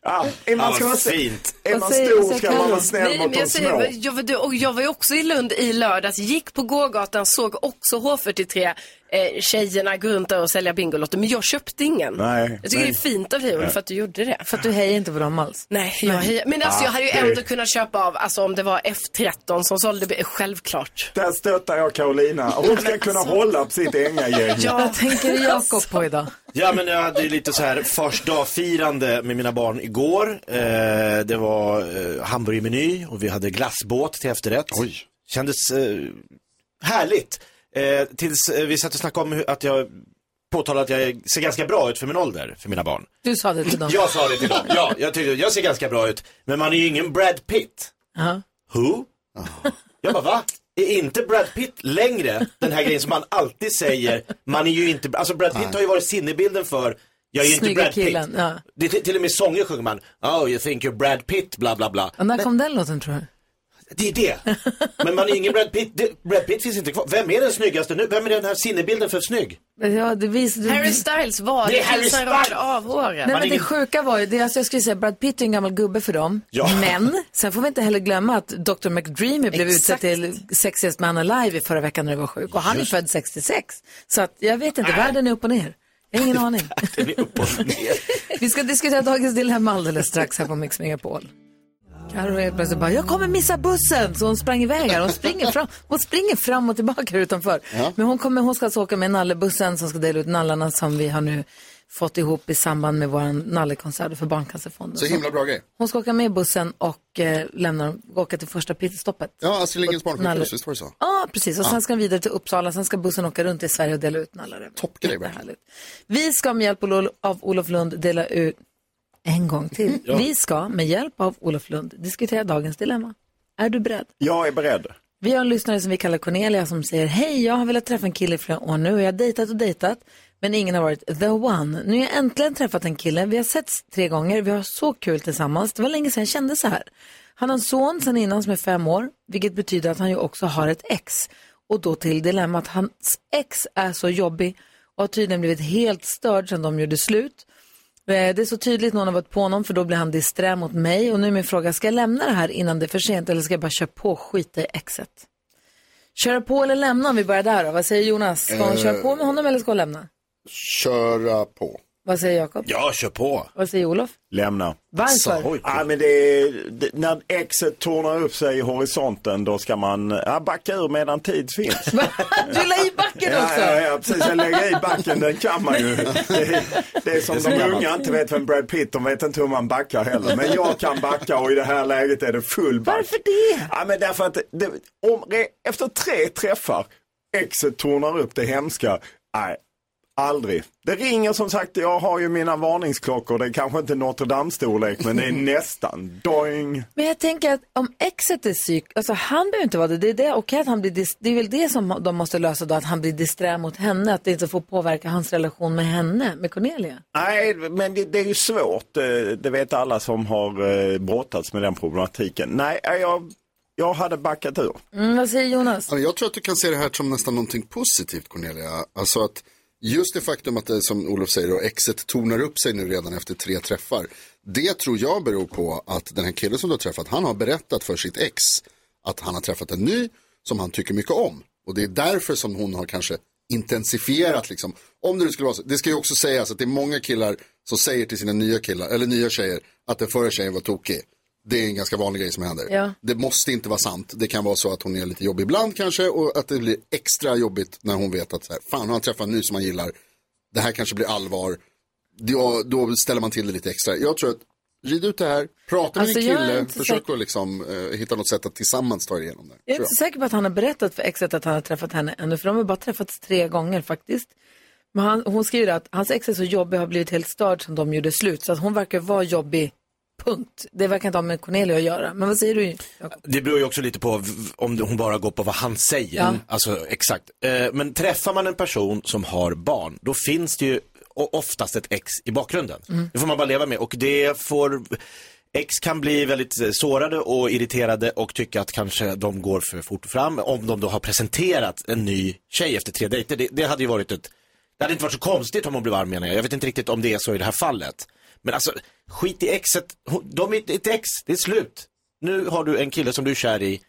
Ja, är man, Ja, ska vad man, se- fint. Är Vad man säger- stor säger ska man Carro? vara snäll Nej, mot men de jag, små. säger, jag, var, du- och jag var ju också i Lund i lördags, gick på gågatan, såg också H43 eh, tjejerna gå runt där och sälja Bingolotter, men jag köpte ingen. Nej, jag tycker nej. det är fint av dig Olof, Nej. för att du gjorde det. För att du hejar inte på dem alls? Nej, jag hejar. Men alltså jag hade ju Ah, det- ändå kunnat köpa av, alltså om det var F13 som sålde, bi- självklart. Där stöttar jag Carolina. Hon ska kunna alltså- hålla på sitt ängagäng. Vad tänker Jakob på idag? Ja, men jag hade ju lite så här fars dag-firande med mina barn igår. Eh, det var eh, hamburgermeny och vi hade glassbåt till efterrätt. Oj. Kändes eh, härligt. Eh, tills eh, vi satt och snackade om hur, att jag påtalade att jag ser ganska bra ut för min ålder, för mina barn. Du sa det till dem. Jag sa det till dem, ja, jag tyckte jag ser ganska bra ut. Men man är ju ingen Brad Pitt. Ja. Who? Jag bara, va? Är inte Brad Pitt längre den här grejen som man alltid säger, man är ju inte, alltså Brad Pitt har ju varit sinnebilden för, jag är ju inte Snygga Brad killen, Pitt. ja. Det är till, till och med i sånger sjunger man, oh you think you're Brad Pitt, bla bla bla. Och när kom den låten tror du? Det är det. Men man är ingen Brad Pitt, det, Brad Pitt finns inte kvar. Vem är den snyggaste nu? Vem är den här sinnebilden för snygg? Ja, det vis, det, Harry Styles var Det är det, Harry tills han Styles. rakade av håret. Nej, men det sjuka var ju, det, alltså, jag skulle säga Brad Pitt är en gammal gubbe för dem. Ja. Men sen får vi inte heller glömma att Dr. McDreamy blev utsedd Exakt. till Sexiest Man Alive i förra veckan när du var sjuk. Och han Just. är född 66. Så att, jag vet inte, världen är upp och ner. Jag har ingen aning. [laughs] vi ska diskutera dagens dilemma alldeles strax här på Mix Megapol. Carro helt plötsligt bara, jag kommer missa bussen! Så hon sprang iväg här. Hon springer fram, hon springer fram och tillbaka här utanför. Men hon, kommer, hon ska alltså åka med nallebussen som ska dela ut nallarna som vi har nu fått ihop i samband med vår nallekonsert för Barncancerfonden. Så himla bra grej. Hon ska åka med bussen och eh, lämna dem, åka till första pitstoppet. Ja, alltså, Astrid Lindgrens Och barnsjukhus, nallar- visst var det så? Ja, precis. Och sen Ja. ska den vidare till Uppsala, sen ska bussen åka runt i Sverige och dela ut nallar. Toppgrej verkligen. Vi ska med hjälp av Olof- av Olof Lund dela ut, en gång till, Ja. vi ska med hjälp av Olof Lund diskutera dagens dilemma. Är du beredd? Jag är beredd. Vi har en lyssnare som vi kallar Cornelia som säger Hej, jag har velat träffa en kille i flera år nu och jag har dejtat och dejtat men ingen har varit the one. Nu har jag äntligen träffat en kille, vi har setts tre gånger, vi har så kul tillsammans. Det var länge sedan jag kände så här. Han har en son sedan innan som är fem år, vilket betyder att han ju också har ett ex. Och då till dilemmat, hans ex är så jobbig och har tydligen blivit helt störd sedan de gjorde slut. Eh, Det är så tydligt någon har varit på honom för då blir han disträ mot mig. Och nu är min fråga, ska jag lämna det här innan det är för sent eller ska jag bara köra på och skita i exet? Köra på eller lämna om vi börjar där då? Vad säger Jonas? Ska hon Eh. köra på med honom eller ska hon lämna? Köra på. Vad säger Jakob? Ja, kör på. Vad säger Olof? Lämna. Varför? Så. Ja, men det är, det, när exet tornar upp sig i horisonten då ska man ja, backa ur medan tid finns. Du la i backen Ja, också! ja, ja, precis. Jag lägger i backen, den kan man ju. Det är, det är som Det är så de gammalt. unga inte vet vem Brad Pitt, de vet inte hur man backar heller. Men jag kan backa och i det här läget är det full back. Varför det? Ja, men därför att det, om, re, efter tre träffar, exet tornar upp det hemska. Nej, Aldrig. Det ringer som sagt, jag har ju mina varningsklockor. Det är kanske inte Notre Dame-storlek men det [laughs] är nästan. Doing! Men jag tänker att om exet är psyk, alltså han behöver inte vara det. Det är, det, okej att han blir dis- det är väl det som de måste lösa då, att han blir disträ mot henne, att det inte får påverka hans relation med henne, med Cornelia. Nej, men det, det är ju svårt. Eh, Det vet alla som har eh, brottats med den problematiken. Nej, eh, jag, jag hade backat ur. Mm, vad säger Jonas? Ja, men Jag tror att du kan se det här som nästan någonting positivt Cornelia. Alltså att just det faktum att det som Olof säger och exet tornar upp sig nu redan efter tre träffar. Det tror jag beror på att den här killen som du har träffat, han har berättat för sitt ex att han har träffat en ny som han tycker mycket om. Och det är därför som hon har kanske intensifierat liksom. Om det nu skulle vara så. Det ska ju också sägas att det är många killar som säger till sina nya killar, eller nya tjejer, att den förra tjejen var tokig. Det är en ganska vanlig grej som händer. Ja. Det måste inte vara sant. Det kan vara så att hon är lite jobbig ibland kanske och att det blir extra jobbigt när hon vet att så här, fan har han träffat en ny som han gillar. Det här kanske blir allvar. Då, då ställer man till det lite extra. Jag tror att rid ut det här, prata med Alltså, din jag är kille, inte försök säker- att liksom, eh, hitta något sätt att tillsammans ta er igenom det. Jag är tror inte säker på att han har berättat för exet att han har träffat henne ännu, för de har bara träffats tre gånger faktiskt. Men han, hon skriver att hans ex är så jobbig och har blivit helt störd som de gjorde slut, så att hon verkar vara jobbig, punkt. Det verkar inte ha med Cornelia att göra. Men vad säger du? Jakob? Det beror ju också lite på v- om hon bara går på vad han säger. Ja. Alltså exakt. Eh, Men träffar man en person som har barn, då finns det ju o- oftast ett ex i bakgrunden. Mm. Det får man bara leva med och det får Ex kan bli väldigt eh, sårade och irriterade och tycka att kanske de går för fort fram om de då har presenterat en ny tjej efter tre dejter. Det, det hade ju varit ett, det hade inte varit så konstigt om hon blev varm menar jag. Jag vet inte riktigt om det är så i det här fallet. Men alltså, skit i exet. Hon- De är ett ex, det är slut. Nu har du en kille som du är kär i.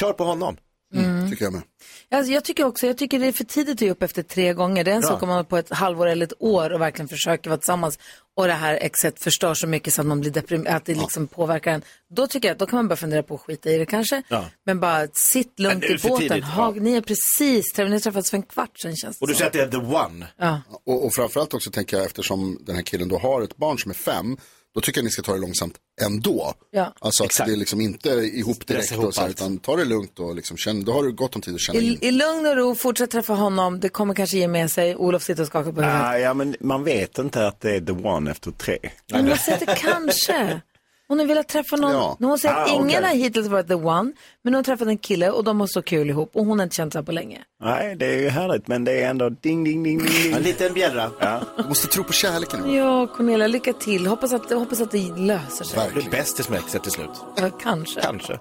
Kör på honom. jag. Mm, Tycker jag med. Alltså, jag tycker också, jag tycker det är för tidigt att ge upp efter tre gånger. Det är en Ja. sak om man är på ett halvår eller ett år och verkligen försöker vara tillsammans och det här exet förstör så mycket så att man blir deprimerad, att det liksom påverkar en. Då tycker jag att då kan man börja fundera på att skita i det kanske. Ja. Men bara sitt Men lugnt det är i för båten. tidigt, ja. Ha, Ni är precis, träff- ni har träffats för en kvart sedan känns det Och du som. säger att Det är the one. Ja. Och, och framförallt också tänker jag eftersom den här killen då har ett barn som är fem, då tycker jag ni ska ta det långsamt ändå. Ja. Alltså att det är liksom inte ihop direkt Stressa ihop och så här, allt. utan ta det lugnt och liksom känn, då har du gott om tid att känna in. I, I lugn och ro, fortsätt träffa honom. Det kommer kanske ge med sig. Olof sitter och skakar på huvudet. Ah, ja, men man vet inte att det är the one efter tre. Men hon säger att det [laughs] kanske. Hon har velat träffa någon. Ja. Hon säger att Ah, ingen okej. har hittills varit the one. Men hon har träffat en kille och de har så kul ihop. Och hon har inte känt så här på länge. Nej, det är ju härligt men det är ändå ding, ding, ding, ding. ding. En liten bjällra. Du måste tro på kärleken. Ja, Cornelia, lycka till. Hoppas att, hoppas att det löser sig. Du är bästis med exet till slut. Ja, kanske. Kanske.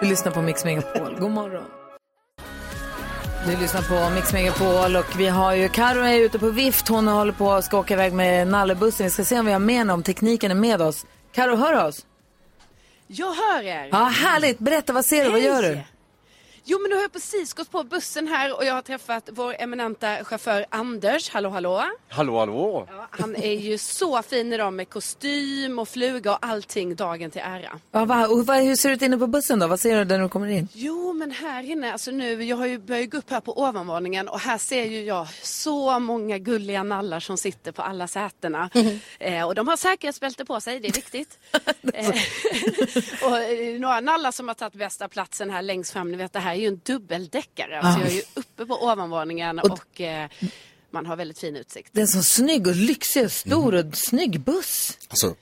Du lyssnar på Mix Megapol. God morgon. Du lyssnar på Mix Megapol och vi har ju, Karo är ute på vift. Hon håller på att ska åka iväg med nallebussen. Vi ska se om vi har med henne, om tekniken är med oss. Karo, hör oss? Jag hör er. Ja, härligt. Berätta, vad ser du? Vad gör du? Hej. Jo men nu har jag precis gått på bussen här och jag har träffat vår eminenta chaufför Anders. Hallå hallå. Hallå, hallå! Han är ju så fin idag med kostym och fluga och allting dagen till ära. Ja, va, och va, hur ser det ut inne på bussen då? Vad ser du när du kommer in? Jo men här inne, alltså nu, jag har ju börjat gå upp här på ovanvåningen och här ser ju jag så många gulliga nallar som sitter på alla sätena. Eh, och de har säkerhetsbälte på sig, det är [laughs] viktigt. eh, och eh, [laughs] några nallar som har tagit bästa platsen här längst fram, ni vet det här är ju en dubbeldäckare. Alltså, jag är ju uppe på ovanvåningen och, eh, man har väldigt fin utsikt. Det är en sån snygg och lyxig och stor och snygg buss. Alltså,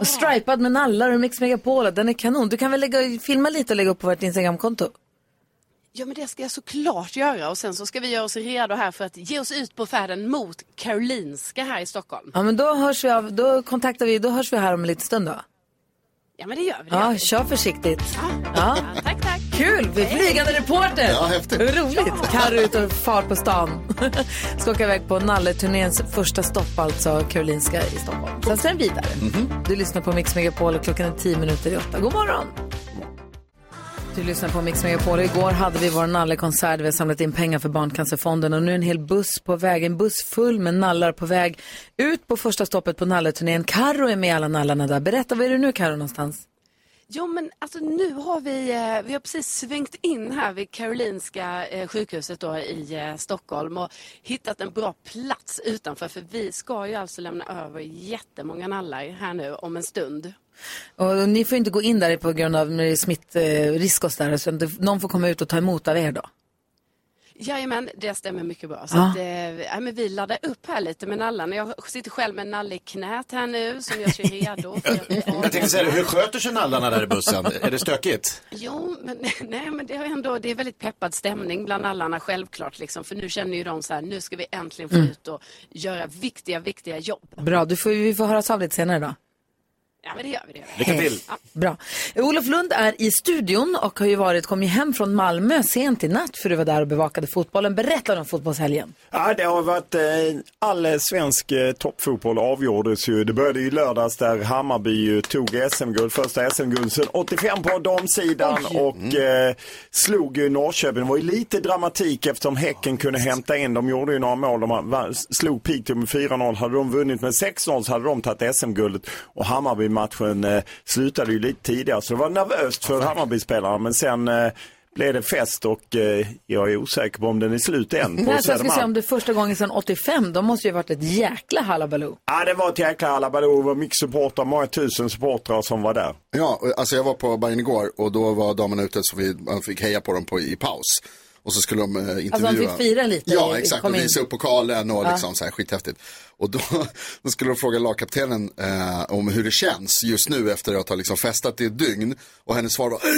Och stripad med nallar och Mix Megapol. Den är kanon. Du kan väl lägga, filma lite och lägga upp på vårt Instagramkonto? Ja men det ska jag såklart göra och sen så ska vi göra oss redo här för att ge oss ut på färden mot Karolinska här i Stockholm. Ja, men då hörs vi av, då kontaktar vi, då hörs vi här om en liten stund då. Ja men det gör vi. Det gör Ja, vi. kör försiktigt. Ja. Tack tack. Kul! Vi är flygande reporter! Ja, häftigt. Hur roligt! Carro ut och far på stan. [laughs] Ska åka iväg på Nalleturnéns första stopp, alltså Karolinska i Stockholm. Sen ska den vidare. Du lyssnar på Mix Megapol och klockan är tio minuter i åtta. God morgon! Du lyssnar på Mix Megapol. Igår hade vi vår nallekonsert. Vi har samlat in pengar för Barncancerfonden och nu är en hel buss på väg. En buss full med nallar på väg ut på första stoppet på nalleturnén. Carro är med i alla nallarna där. Berätta, var är du nu Carro någonstans? Jo men alltså nu har vi, eh, vi har precis svängt in här vid Karolinska eh, sjukhuset då i eh, Stockholm och hittat en bra plats utanför för vi ska ju alltså lämna över jättemånga nallar här nu om en stund. Och ni får inte gå in eh, där på grund av smittrisk och sådär. Så det- någon får komma ut och ta emot av er då. Jajamän, det stämmer mycket bra. Så Ja. att, eh, ja, men vi laddar upp här lite med nallan. Jag sitter själv med en nalle i knät här nu som gör sig redo. För Jag tänkte säga det, hur sköter sig nallarna där i bussen? Är det stökigt? Jo, men, [laughs] nej, men det, är ändå, det är väldigt peppad stämning bland allarna självklart. Liksom, för nu känner ju de så här, nu ska vi äntligen få Mm. ut och göra viktiga, viktiga jobb. Bra, du får, vi får höras av lite senare då. Ja, men det gör vi. Det gör vi. Lycka till. Bra. Olof Lund är i studion och har ju varit, kom ju hem från Malmö sent i natt för du var där och bevakade fotbollen. Berätta om fotbollshelgen. Ja, det har varit, eh, all svensk eh, toppfotboll avgjordes ju. Det började ju i lördags där Hammarby ju tog SM-guld, första SM-guld sedan 85 på damsidan Oj. och eh, slog ju Norrköping. Det var ju lite dramatik eftersom Häcken kunde hämta in, de gjorde ju några mål, de va- slog Piteå med 4-0. Hade de vunnit med 6-0 så hade de tagit SM-guldet och Hammarby-matchen eh, slutade ju lite tidigare så det var nervöst för Hammarby-spelarna men sen eh, blev det fest och eh, jag är osäker på om den är slut än på Nej, så jag skulle Södermalm. säga om det är första gången sedan 85, då måste ju ha varit ett jäkla halabaloo. Ja, det var ett jäkla halabaloo. Det var mycket supportrar, många tusen supportrar som var där. Ja, alltså jag var på Bajen igår och då var damerna ute så vi man fick heja på dem på, i paus. Och så skulle de eh, intervjua. Alltså, fick fira lite, Ja, eh, exakt. kom Och in. visa upp pokalen och Ja. liksom så här skithäftigt. Och då, [laughs] då skulle de fråga lagkaptenen eh, om hur det känns just nu efter att ha liksom festat i ett dygn. Och hennes svar var "Äh,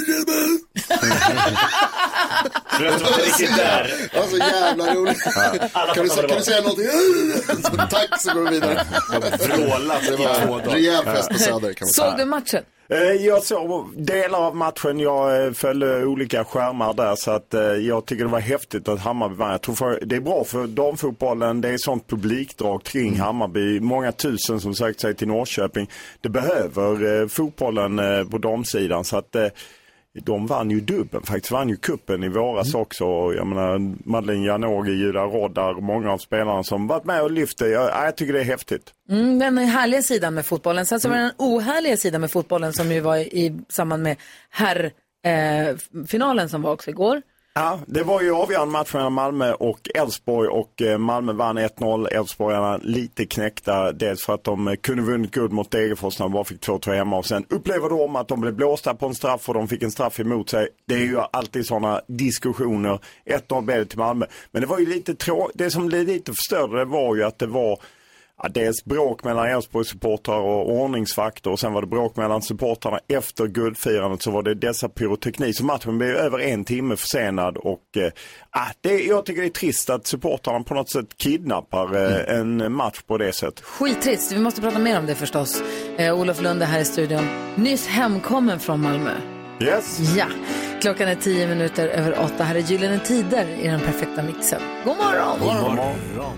Du vet, det var inte riktigt där. Alltså jävla roligt. Alla Kan du, fattar sä- kan vad det var. du säga någonting? [laughs] Så, Tack så går vi vidare. vrålat i Det var två dagar. rejäl fest på Söder kan man säga. [laughs] Såg du matchen? Eh, Jag såg delar av matchen, jag eh, följde olika skärmar där så att eh, jag tycker det var häftigt att Hammarby vann. Jag tror för, det är bra för damfotbollen, det är sånt publikdrag kring Hammarby. Många tusen som sökt sig till Norrköping. Det behöver eh, fotbollen eh, på damsidan så att eh, de vann ju dubben faktiskt, vann ju kuppen i våras också. Och Jag menar Madeleine Janogy, Julia Roddar, många av spelarna som varit med och lyft det. Jag, jag tycker det är häftigt. Mm, den härliga sidan med fotbollen. Sen så var det den ohärliga sidan med fotbollen som ju var i samband med herrfinalen eh, finalen som var också igår. Ja, det var ju avgörande match mellan Malmö och Elfsborg och eh, Malmö vann 1-0. Elfsborgarna lite knäckta, dels för att de eh, kunde vunnit guld mot Degerfors när de bara fick 2-2 hemma och sen upplever de att de blev blåsta på en straff och de fick en straff emot sig. Det är ju alltid sådana diskussioner. 1-0 blev det till Malmö. Men det var ju lite tråkigt, det som blev lite förstörde var ju att det var Ja, dels bråk mellan Elfsborgs-supportrar och ordningsvakter och sen var det bråk mellan supportrarna efter guldfirandet så var det dessa pyroteknik. Så matchen blev över en timme försenad och eh, ah, det, jag tycker det är trist att supportrarna på något sätt kidnappar eh, en match på det sättet. Skittrist, vi måste prata mer om det förstås. Eh, Olof Lund är här i studion, nyss hemkommen från Malmö. Yes. Ja, klockan är tio minuter över åtta. Här är Gyllene Tider i den perfekta mixen. God morgon! God morgon.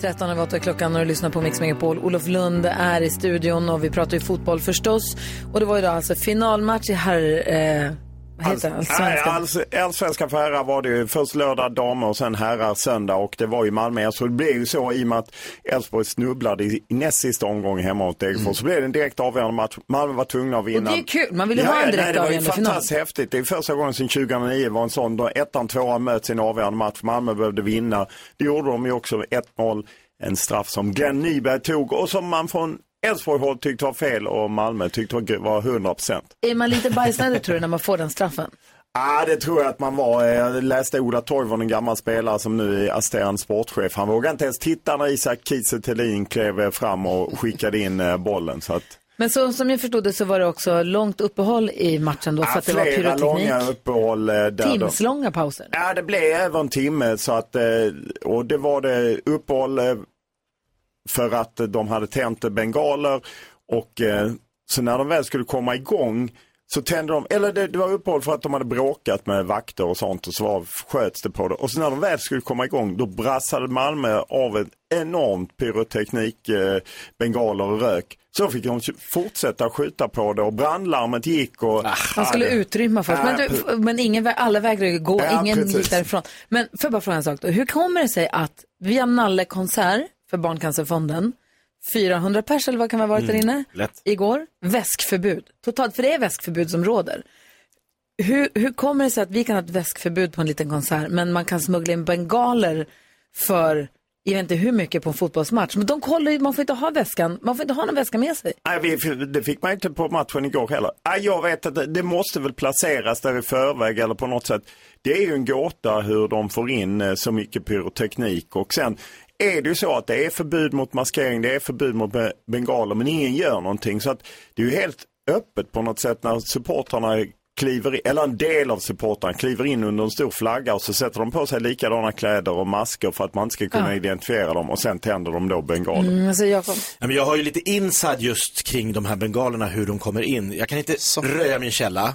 13 över 8 klockan och du lyssnar på Mix Megapol. Olof Lund är i studion och vi pratar ju fotboll förstås. Och det var ju då alltså finalmatch i herr... Eh, vad Alltså, heter det? Allsvenskan. Allsvenskan? Allsvenskan för herrar var det ju först lördag damer och sen herrar söndag och det var ju Malmö. Så det blev ju så i och med att Elfsborg snubblade i i näst sista omgången hemma mot Degerfors. Så blev det en direkt avgörande match. Malmö var tvungna att vinna. Och det är kul. Man vill ju ha en direkt nej, Det var ju avgörande final. fantastiskt häftigt. Det är första gången sedan 2009 var en sån. Då ettan, tvåan möts i en avgörande match. Malmö behövde vinna. Det gjorde de ju också med 1-0. En straff som Glenn Nyberg tog och som man från Elfsborg håll tyckte var fel och Malmö tyckte var- var 100%. Är man lite bajsnödig tror du när man får den straffen? Ja, det tror jag att man var. Eh, Jag läste Ola Toivonen, en gammal spelare som nu är assisterande sportchef. Han vågade inte ens titta när Isak Kiese Thelin klev fram och skickade in eh, bollen. Så att, Men så, som jag förstod det så var det också långt uppehåll i matchen då för Ja, att det var flera långa pyroteknik. uppehåll. eh, Där de- Timslånga pauser. Ja, det blev över en timme så att, eh, och det var det uppehåll eh, för att eh, de hade tänt eh, bengaler och eh, så när de väl skulle komma igång så tände de, eller det, det var uppehåll för att de hade bråkat med vakter och sånt och så var, sköts det på det. Och så när de väl skulle komma igång då brassade Malmö av en enormt pyroteknik, eh, bengaler och rök. Så fick de fortsätta skjuta på det och brandlarmet gick och... Han skulle utrymma först, men, Ja, du, men ingen, vä- alla vägrade ju gå, Ja, ingen precis. gick därifrån. Men får jag bara fråga en sak då? Hur kommer det sig att via Nalle-konsert för Barncancerfonden, 400 pers eller vad kan man ha varit där Mm, inne [laughs] lätt. igår, väskförbud. Totalt, för det är väskförbud som råder. Hur, hur kommer det sig att vi kan ha ett väskförbud på en liten konsert, men man kan smuggla in bengaler för jag vet inte hur mycket på en fotbollsmatch. Men de kollar ju, man får inte ha väskan, man får inte ha någon väska med sig. Nej, vi, det fick man inte på matchen igår heller. Nej, jag vet att det, det måste väl placeras där i förväg eller på något sätt. Det är ju en gåta hur de får in eh, så mycket pyroteknik och sen är det ju så att det är förbud mot maskering, det är förbud mot be- bengaler men ingen gör någonting. Så att det är ju helt öppet på något sätt när supportrarna kliver in, eller en del av supportrarna kliver in under en stor flagga och så sätter de på sig likadana kläder och masker för att man inte ska kunna Ja. identifiera dem och sen tänder de då bengaler. Mm, alltså Jakob. Ja, men jag har ju lite inside just kring de här bengalerna, hur de kommer in. Jag kan inte röja min källa.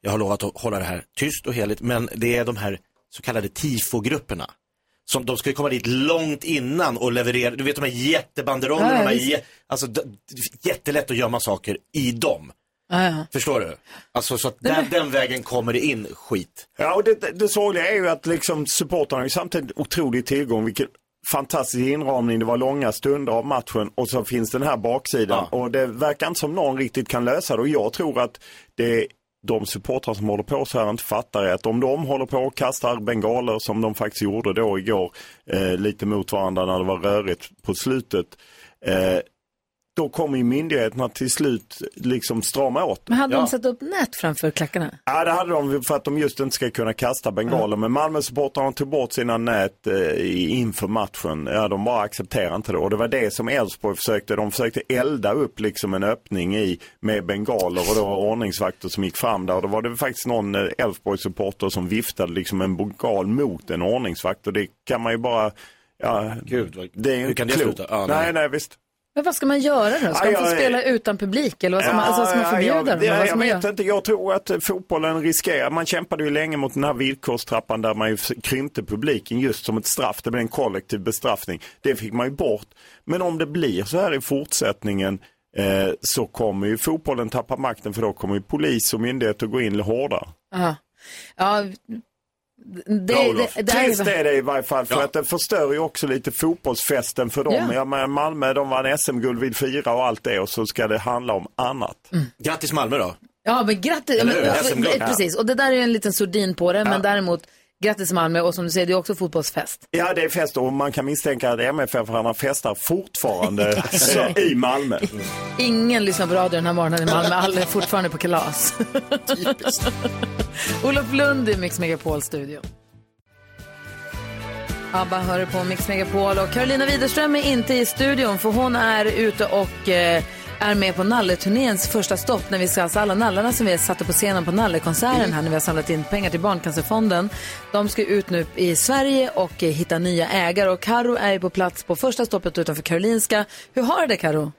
Jag har lovat att hålla det här tyst och heligt, men det är de här så kallade tifogrupperna. Som de ska ju komma dit långt innan och leverera, du vet de här jättebanderollerna, Ja, ja, de här visst. jä- alltså d- d- jättelätt att gömma saker i dem. Ja, ja. Förstår du? Alltså så att där, den vägen kommer det in skit. Ja, och det, det, det sorgliga är ju att liksom supportrarna har ju samtidigt otrolig tillgång, vilket fantastisk inramning, det var långa stunder av matchen och så finns den här baksidan och det verkar inte som någon riktigt kan lösa det och jag tror att det de supportrar som håller på så här inte fattar är att om de håller på och kastar bengaler som de faktiskt gjorde då igår, eh, lite mot varandra när det var rörigt på slutet, eh, då kommer ju myndigheterna till slut liksom strama åt. det. Men hade Ja. de satt upp nät framför klackarna? Ja, det hade de för att de just inte ska kunna kasta bengaler. Mm. Men Malmösupportrarna tog bort sina nät eh, i- inför matchen. Ja, de bara accepterade inte det. Och det var det som Elfsborg försökte. De försökte elda upp liksom en öppning i med bengaler och då var ordningsvakter som gick fram där. Och då var det faktiskt någon eh, Elfsborg-supporter som viftade liksom en bengal mot en ordningsvakt. Och det kan man ju bara... Ja, Gud, vad, det är ju hur kan det klokt. sluta? Ja, nej. nej. nej, visst. Men vad ska man göra då? Ska Ja, man få ja, spela ja. utan publik? Eller vad ska man, Ja, alltså, ska man ja, förbjuda ja, dem? det- Eller vad ska Jag man göra? vet inte, jag tror att eh, fotbollen riskerar, man kämpade ju länge mot den här villkorstrappan där man ju f- krympte publiken just som ett straff, det blev en kollektiv bestraffning. Det fick man ju bort. Men om det blir så här i fortsättningen eh, så kommer ju fotbollen tappa makten för då kommer ju polis och myndigheter gå in hårdare. Ja. Ja, det, Ja, det, Olof. det här Trist är är... det i varje fall för att det förstör ju också lite fotbollsfesten för dem. Ja. Jag menar, Malmö de vann SM-guld vid fyra och allt det och så ska det handla om annat. Grattis Malmö då! Ja, men grattis. Eller Men, hur? SM-guld. eh, precis, och det där är ju en liten sordin på det, men däremot grattis Malmö och som du säger, det är också fotbollsfest. Ja, det är fest och man kan misstänka att MFF-arna festar fortfarande eh, i Malmö. Ingen lyssnar på radio den här morgonen i Malmö, alla är fortfarande på kalas. [laughs] Olof Lund i Mix Megapol-studion. ABBA hör du på Mix Megapol och Carolina Widerström är inte i studion för hon är ute och eh, är med på Nalleturnéns första stopp när vi ska, alltså alla nallarna som vi satte på scenen på Nallekonserten här när vi har samlat in pengar till Barncancerfonden. De ska ut nu i Sverige och eh, hitta nya ägare och Karo är ju på plats på första stoppet utanför Karolinska. Hur har du det Karo?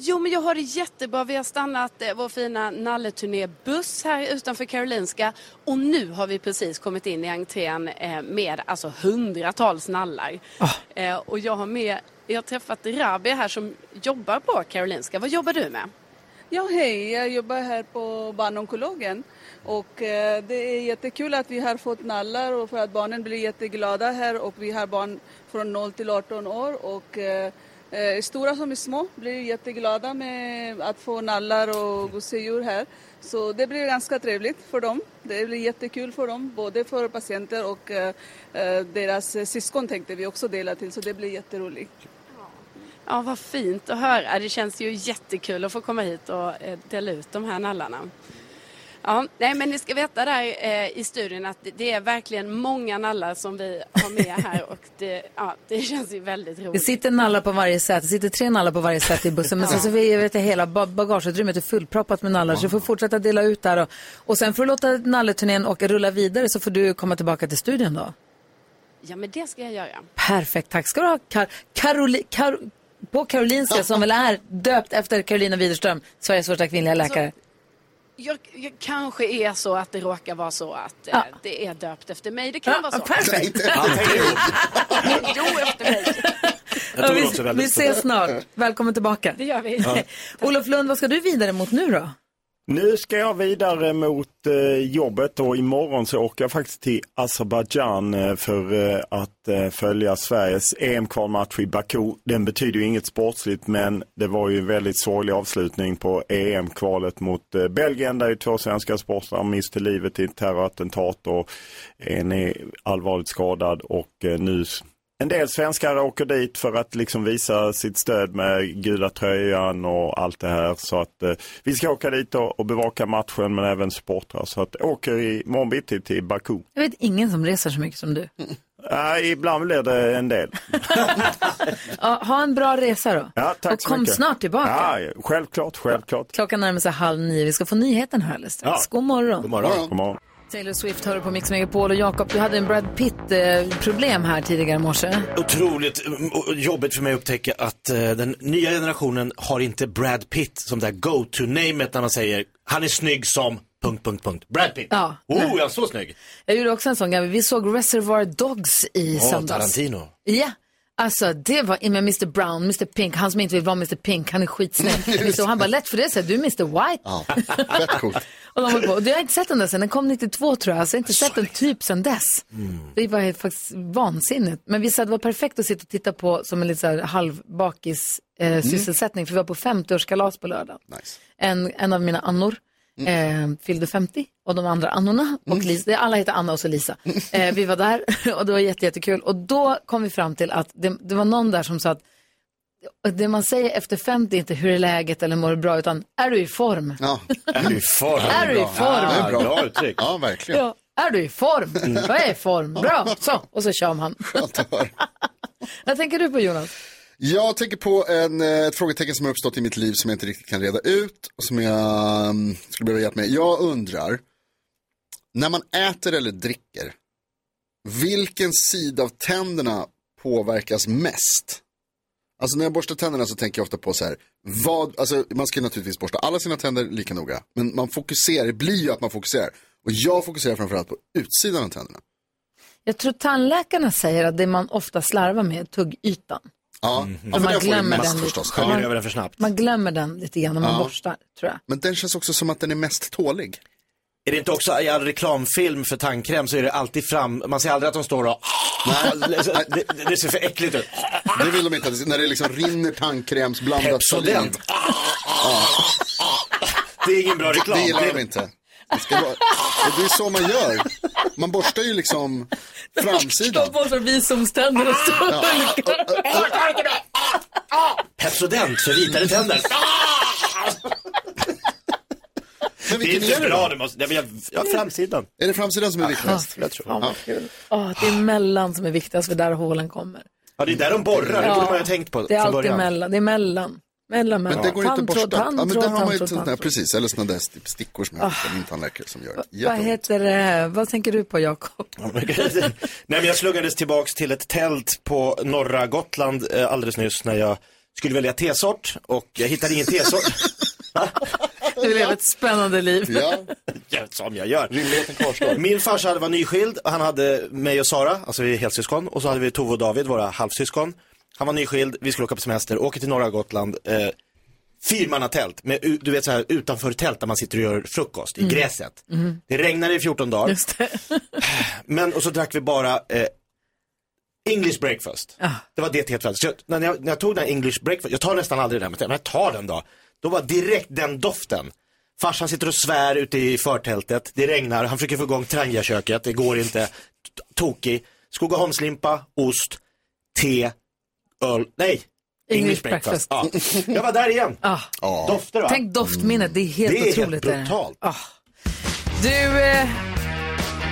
Jo, men jag har det jättebra. Vi har stannat eh, vår fina nalleturnébuss här utanför Karolinska och nu har vi precis kommit in i entrén eh, med alltså hundratals nallar. Eh, och jag har med, jag har träffat Rabia här som jobbar på Karolinska. Vad jobbar du med? Ja, hej. Jag jobbar här på barnonkologen. Och eh, det är jättekul att vi har fått nallar och för att barnen blir jätteglada här och vi har barn från 0 till 18 år och eh, eh, stora som små blir jätteglada med att få nallar och gosedjur här. Så det blir ganska trevligt för dem. Det blir jättekul för dem, både för patienter och eh, eh, deras syskon tänkte vi också dela till, så det blir jätteroligt. Ja, vad fint att höra. Det känns ju jättekul att få komma hit och eh, dela ut de här nallarna. Ja, nej, men ni ska veta där eh, i studion att det- det är verkligen många nallar som vi har med här [laughs] och det, ja, det känns ju väldigt roligt. Det sitter nallar på varje säte, det sitter tre nallar på varje säte i bussen. Men sen så vi, vet jag, hela ba- bagageutrymmet är fullproppat med nallar. Så du får fortsätta dela ut där. Och, och sen får du låta nalleturnén och rulla vidare så får du komma tillbaka till studion då. Ja, men det ska jag göra. Perfekt, tack ska du ha. Kar- Karoli- Kar- på Karolinska som väl är döpt efter Carolina Widerström, Sveriges första kvinnliga Alltså, läkare. Jag, jag kanske är så att det råkar vara så att eh, Ja. det är döpt efter mig. Det kan vara så. perfekt. jo, efter mig. Jag tror Ja, det vi, låter väldigt vi ses snart. Välkommen tillbaka. Det gör vi. Ja. Olof Lund, vad ska du vidare mot nu då? Nu ska jag vidare mot eh, jobbet och imorgon så åker jag faktiskt till Azerbajdzjan eh, för eh, att eh, följa Sveriges EM-kvalmatch i Baku. Den betyder ju inget sportsligt men det var ju en väldigt sorglig avslutning på EM-kvalet mot eh, Belgien där ju två svenska sportare miste livet i ett terrorattentat och en är allvarligt skadad och eh, nu s- En del svenskar åker dit för att liksom visa sitt stöd med gula tröjan och allt det här. Så att eh, vi ska åka dit och, och bevaka matchen men även supportrar. Så att åker i morgon bitti till Baku. Jag vet ingen som reser så mycket som du. Äh, ibland blir det en del. Ja, ha en bra resa då. Ja, tack och så kom mycket. snart tillbaka. Ja, självklart, självklart. Klockan närmar sig halv nio. Vi ska få nyheten här alldeles strax. God morgon. God morgon. Taylor Swift hör du på Mix Megapol och Jakob, du hade en Brad Pitt-problem här tidigare i morse. Otroligt mm, och jobbigt för mig att upptäcka att eh, den nya generationen har inte Brad Pitt som det här go-to-namet när man säger han är snygg som... Punkt, punkt, punkt. Brad Pitt. Ja. Oh, är han så snygg? Jag gjorde också en sån gammal. Vi såg Reservoir Dogs i Åh, söndags. Tarantino. Ja, alltså det var med Mr Brown, Mr Pink, han som inte vill vara Mr Pink, han är skitsnygg. Så han bara, lätt för det, så här, du är Mr White. Ja, fett coolt. Och de var på. Och jag har inte sett den där sen, den kom 92 tror jag, så jag har inte sett den typ sen dess. Det var helt faktiskt vansinnigt. Men vi sa att det var perfekt att sitta och titta på som en lite så här halvbakis eh, sysselsättning, för vi var på 50-årskalas på lördagen. En, en av mina annor eh, fyllde 50 och de andra annorna, och Lisa, alla heter Anna och så Lisa. Eh, vi var där [laughs] och det var jätte, jättekul. Och då kom vi fram till att det, det var någon där som sa att det man säger efter 50 är inte hur är läget eller mår du bra, utan är du i form? Ja. Är du i form? Är du i form? det är bra. Bra uttryck. Ja, Mm. verkligen. Ja. Är du i form? Jag är i form. Bra. Så. Och så kör man. [laughs] Vad tänker du på Jonas? Jag tänker på en, eh, ett frågetecken som har uppstått i mitt liv som jag inte riktigt kan reda ut och som jag mm, skulle behöva hjälp med. Jag undrar, när man äter eller dricker, vilken sida av tänderna påverkas mest? Alltså när jag borstar tänderna så tänker jag ofta på så här, vad, alltså man ska ju naturligtvis borsta alla sina tänder lika noga, men man fokuserar, det blir ju att man fokuserar. Och jag fokuserar framförallt på utsidan av tänderna. Jag tror tandläkarna säger att det man ofta slarvar med är tuggytan. Ja, Men ja men den man får ju glömmer mest den förstås. lite. Sköljer över den för snabbt. Man glömmer den lite grann när man Ja. borstar, tror jag. Men den känns också som att den är mest tålig. Är det inte också i all reklamfilm för tandkräm så är det alltid fram, man ser aldrig att de står och det, det- det ser för äckligt ut. Det vill de inte, att det- när det liksom rinner tandkrämsblandat Pepsodent. [laughs] Det är ingen bra reklam. Det gillar Det- de inte. Det, ska vara... och det är så man gör. Man borstar ju liksom framsidan. borstar visumständer och står Ja. Pepsodent för vitare tänder. Men det är vilken inte är det bra, då? det måste, jag, jag, framsidan. Är det framsidan som är viktigast? jag tror ja. Åh, det är mellan som är viktigast, för där hålen kommer. ja, det är där de borrar, det Ja. borde man ju ha tänkt på Det är från alltid början. mellan. Det är mellan. Mellan, Men mellan. det går inte att borsta. Tandtråd, Ja, men tandtråd, där har man ju tandtråd, sådana där, tandtråd. Ah. precis, eller sådana där sti- stickor som jag fick av min tandläkare som gör Vad jätteont. heter det? Vad tänker du på, Jakob? [laughs] Nej, men jag sluggades tillbaks till ett tält på norra Gotland eh, alldeles nyss när jag skulle välja tesort och jag hittade ingen tesort. Du lever ett spännande liv. Ja, som jag gör. Min farsa hade var nyskild och han hade mig och Sara, alltså vi är helsyskon, och så hade vi Tove och David, våra halvsyskon. Han var nyskild, vi skulle åka på semester, åker till norra Gotland, eh, fyrmannatält, med, u- du vet så här utanför tält där man sitter och gör frukost i Mm. gräset. Mm. Det regnade i 14 dagar. [sighs] Men, och så drack vi bara eh, English breakfast. Det var det till helt Så jag, när, jag, när jag tog den här English breakfast, jag tar nästan aldrig den, men jag tar den då. Då var direkt den doften. Farsan sitter och svär ute i förtältet, det regnar, han försöker få igång Trangiaköket, det går inte. T- Tokig. Skogaholmslimpa, ost, te, öl, nej. English Ah. Ja. Ah. Jag var där igen. Ah. Dofter va? Tänk doftminnet, det är helt Det är helt otroligt. brutalt. Ah. Du, eh,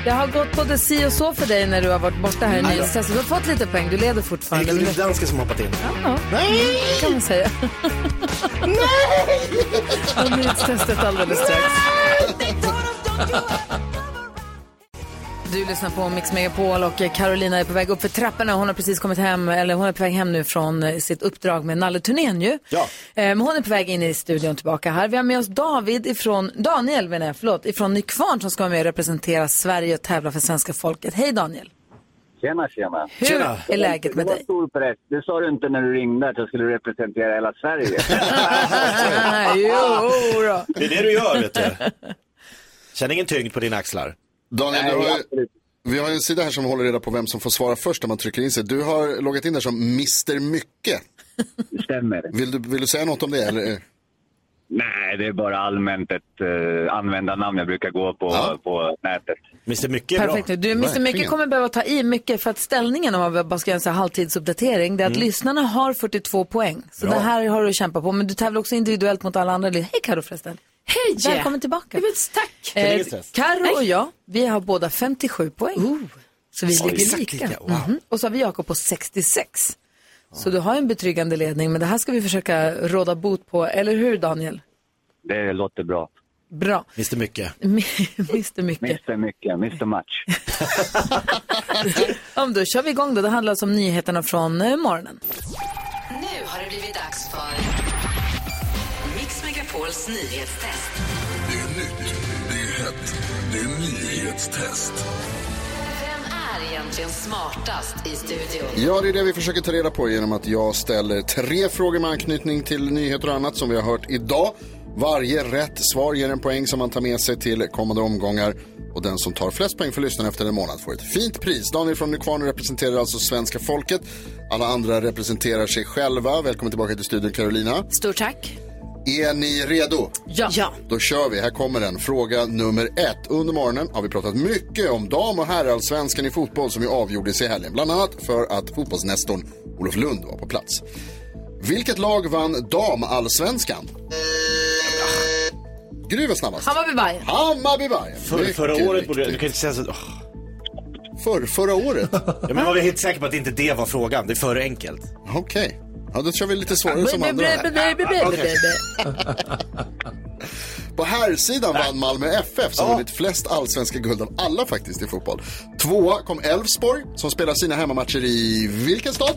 det har gått både si och så för dig när du har varit borta här i Mm. Nils. Så du har fått lite poäng, du leder fortfarande. Det är danska som hoppat in. Ja, det kan man säga. Och nyhetstestet alldeles strax. Du lyssnar på Mix Megapol och Carolina är på väg upp för trapporna. Hon har precis kommit hem, eller hon är på väg hem nu från eh, sitt uppdrag med Nalleturnén ju. Ja. Eh, Men hon är på väg in i studion tillbaka här. Vi har med oss David ifrån, Daniel menar jag, förlåt, ifrån Nykvarn som ska vara med och representera Sverige och tävla för svenska folket. Hej Daniel! Tjena, tjena. Hur Tjena. är läget med Det var dig? stor press. Det sa du inte när du ringde att jag skulle representera hela Sverige. [laughs] jo, då. Det är det du gör, vet du. Känn ingen tyngd på dina axlar. Daniel, du har ju, vi har ju en sida här som håller reda på vem som får svara först när man trycker in sig. Du har loggat in där som Mr Mycket. Stämmer. Vill du, vill du säga något om det? Eller? Nej, det är bara allmänt ett eh, användarnamn jag brukar gå på, på nätet. Mr Mycket Perfekt. Du, Mr Mycket kommer behöva ta i mycket för att ställningen, om man bara ska göra en sån här halvtidsuppdatering, det är att Mm. lyssnarna har 42 poäng. Så Bra. det här har du att kämpa på. Men du tävlar också individuellt mot alla andra. Hej Carro förresten. Hej! Välkommen tillbaka. tack! Carro och jag, vi har båda 57 poäng. Så vi Så ligger exakt lika. lika, wow. Mhm. Och så har vi Jakob på 66. Så du har en betryggande ledning, men det här ska vi försöka råda bot på, eller [laughs] hur Daniel? Det låter bra. Bra. Mr [laughs] Mycket. Mr Mycket. Mr Mycket, Mr Match. Om då kör vi igång då. Det handlar alltså om nyheterna från eh, morgonen. Nu har det blivit dags för Mix Megapols nyhetstest. Det är nytt, det är hett, det är nyhetstest. Vem är egentligen smartast i studion? Ja, det är det vi försöker ta reda på genom att jag ställer tre frågor med anknytning till nyheter och annat som vi har hört idag. Varje rätt svar ger en poäng som man tar med sig till kommande omgångar. Och den som tar flest poäng för lyssnaren efter en månad får ett fint pris. Daniel från Nykvarn representerar alltså svenska folket. Alla andra representerar sig själva. Välkommen tillbaka till studion Carolina. Stort tack. Är ni redo? Ja. Då kör vi. Här kommer den. Fråga nummer ett. Under morgonen har vi pratat mycket om dam och herrallsvenskan i fotboll som ju avgjordes i helgen. Bland annat för att fotbollsnestorn Olof Lund var på plats. Vilket lag vann damallsvenskan? Gry var snabbast. Hammarby Bajen. Hammarby Bajen. För, förra Mycket året borde... Du kan inte säga så... åh. För, förra året? ja, men jag var helt säker på att inte det var frågan. Det är för enkelt. Okej. Ja, då kör vi lite svårare som Bli- andra. bli- bli- bli- bli- bli- På här sidan vann Malmö FF som vunnit flest allsvenska guld av alla faktiskt i fotboll. Tvåa kom Elfsborg som spelar sina hemmamatcher i vilken stad?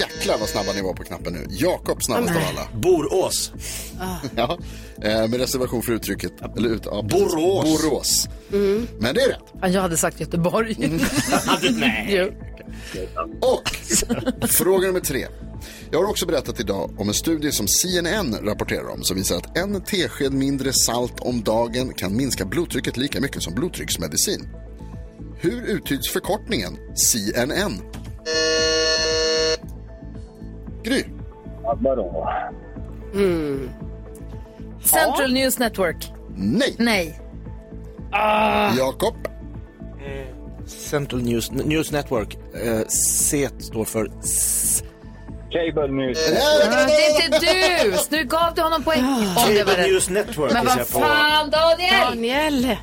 Jäklar vad snabba ni var på knappen nu. Jakob snabbast av alla. Borås. [laughs] ja, eh, med reservation för uttrycket. Eller ut, ja, precis. Borås. Borås. Mm. Men det är rätt. Ja, Jag hade sagt Göteborg. Mm. [laughs] Nej. Och [laughs] fråga nummer tre. Jag har också berättat idag om en studie som CNN rapporterar om som visar att en tesked mindre salt om dagen kan minska blodtrycket lika mycket som blodtrycksmedicin. Hur uttyds förkortningen CNN? Gry. Vadå? Mm. Central News Network. Nej. Nej. Ah. Jakob. Central News, News Network. Eh, C står för... S- Cable News. Eh, Ah, Det är inte du! Så Nu gav du honom poäng. Om det var Cable rätt. News Network Men gissar vad jag på. fan, Daniel! Ah, Daniel! Det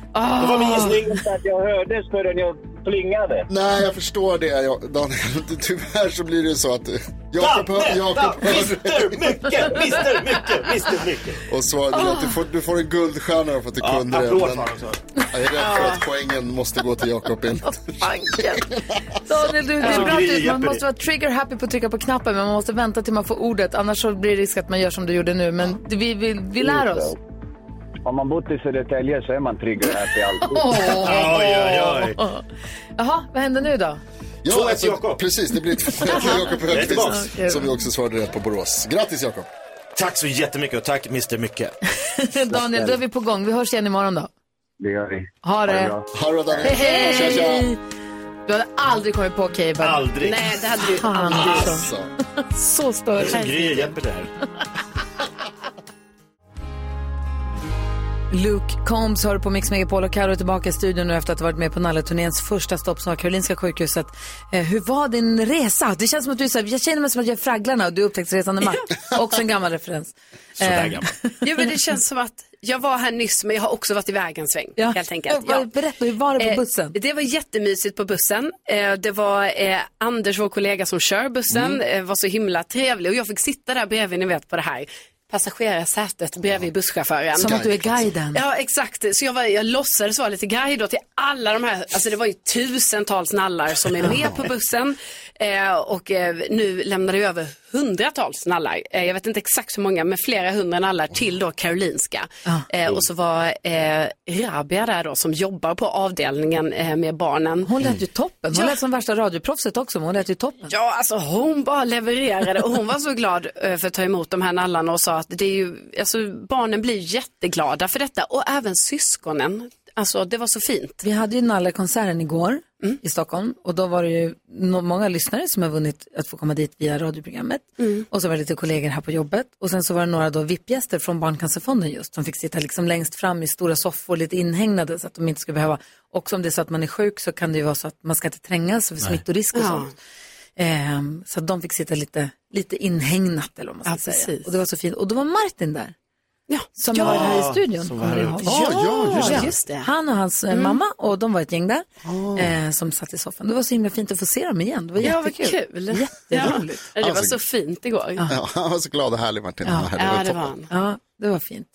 var min gissning. att jag hördes förrän jag plingade. Nej, jag förstår det, jag, Daniel. [laughs] Tyvärr så blir det så att eh, Jakob hör... Jakob hör... Mr Mycket, Mr Mycket, Mr Mycket. Och svaret är att Ah. du får, du får en guldstjärna för att du Ja, kunde det. applåd men för honom, så. Jag är rädd för att poängen måste gå till [laughs] Jakob enligt Daniel, du, det är Som bra Gry att du, hjälper man dig. måste vara trigger happy på att trycka på knappen, men man måste vänta till man får ordet. Annars så blir det risk att man gör som du gjorde nu. Men det- vi, vi, vi lär oss. Om man bott i Södertälje så är man trigger happy alltid. Åh. oj, oj, Jaha, vad händer nu då? Ja, 2-1 alltså, Jakob. Precis, [laughs] det blir 2-1 till Jakob Jag är tillbaka. Högqvist. som vi också svarade rätt på Borås. Grattis Jakob! Tack så jättemycket och tack Mr Mycket. Daniel, då är vi på gång. Vi hörs igen imorgon då. Det gör vi. Ha det. Ha det bra Hej, Daniel. Tja, tja. hej! Du hade aldrig kommit på Keyvan. Aldrig. Nej, det hade du Fan, du är så- Alltså. [laughs] Så störigt. Som Gry hjälper dig här. Luke Combs hör på Mix Megapol och Karo är tillbaka i studion nu efter att ha varit med på Nalleturnéns första stopp som var Karolinska sjukhuset. Eh, hur var din resa? Det känns som att du är så här, jag känner mig som att jag är Fragglarna och du är upptäcktsresande man. Också en gammal referens. Eh, [laughs] Ja, men det känns som att jag var här nyss men jag har också varit iväg en sväng. Ja. Helt enkelt. Ja, vad- Berätta, hur var det på Eh, bussen? Det var jättemysigt på bussen. Eh, Det var eh, Anders, vår kollega som kör bussen, Mm. eh, var så himla trevlig och jag fick sitta där bredvid, ni vet på det här passagerarsätet bredvid busschauffören. Som att du är guiden. Ja, exakt. Så jag, var, jag låtsades vara lite guide då till alla de här, alltså det var ju tusentals nallar som är med på bussen. Eh, och eh, nu lämnade jag över hundratals nallar. Eh, jag vet inte exakt hur många, men flera hundra nallar till då Karolinska. Eh, och så var eh, Rabia där då som jobbar på avdelningen eh, med barnen. Hon lät ju toppen. Hon lät som värsta radioproffset också, men hon lät ju toppen. Ja, alltså hon bara levererade och hon var så glad eh, för att ta emot de här nallarna och sa att det är ju, alltså barnen blir jätteglada för detta och även syskonen. Alltså det var så fint. Vi hade ju Nallekonserten igår Mm. i Stockholm. Och då var det ju no- många lyssnare som har vunnit att få komma dit via radioprogrammet. Mm. Och så var det lite kollegor här på jobbet. Och sen så var det några då VIP-gäster från Barncancerfonden just. som fick sitta liksom längst fram i stora soffor, lite inhägnade så att de inte skulle behöva. Också om det är så att man är sjuk så kan det ju vara så att man ska inte trängas för Nej. smittorisk och Ja. sånt. Ehm, så att de fick sitta lite, lite inhägnat eller vad man ska säga. Och det var så fint. Och då var Martin där. som ja, var här i studion. som kommer var ni här ihåg? uppe. Ja, ja, just det. just det. Han och hans eh, Mm. mamma och de var ett gäng där eh, som satt i soffan. Det var så himla fint att få se dem igen. Det var Ah. Ja, vad jättekul. kul. Jätteroligt. Ja. Det var så Alltså- fint igår. Ja, han var så glad och härlig Martin. när han var Ja, här. det toppen. var han. Ja, det var fint.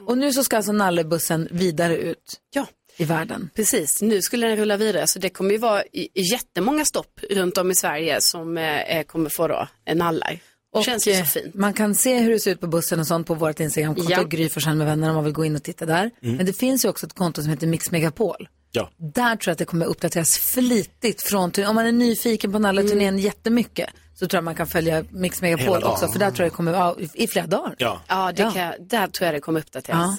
Och nu så ska alltså nallebussen vidare ut ja. i världen. Precis, nu skulle den rulla vidare så det kommer ju vara i- jättemånga stopp runt om i Sverige som eh, kommer få då eh, nallar. Det känns ju så eh, fint. Man kan se hur det ser ut på bussen och sånt på vårt Instagramkonto, Ja. ja. Gry Forssell med vänner om man vill gå in och titta där. Mm. Men det finns ju också ett konto som heter Mix Megapol. Ja. Där tror jag att det kommer uppdateras flitigt från turn- Om man är nyfiken på Nalla-turnén Mm. jättemycket så tror jag man kan följa Mix Megapol Hela dagen. också. För där tror jag det kommer vara i- i flera dagar. Ja, ja, det Kan, jag- där tror jag det kommer Ja. uppdateras.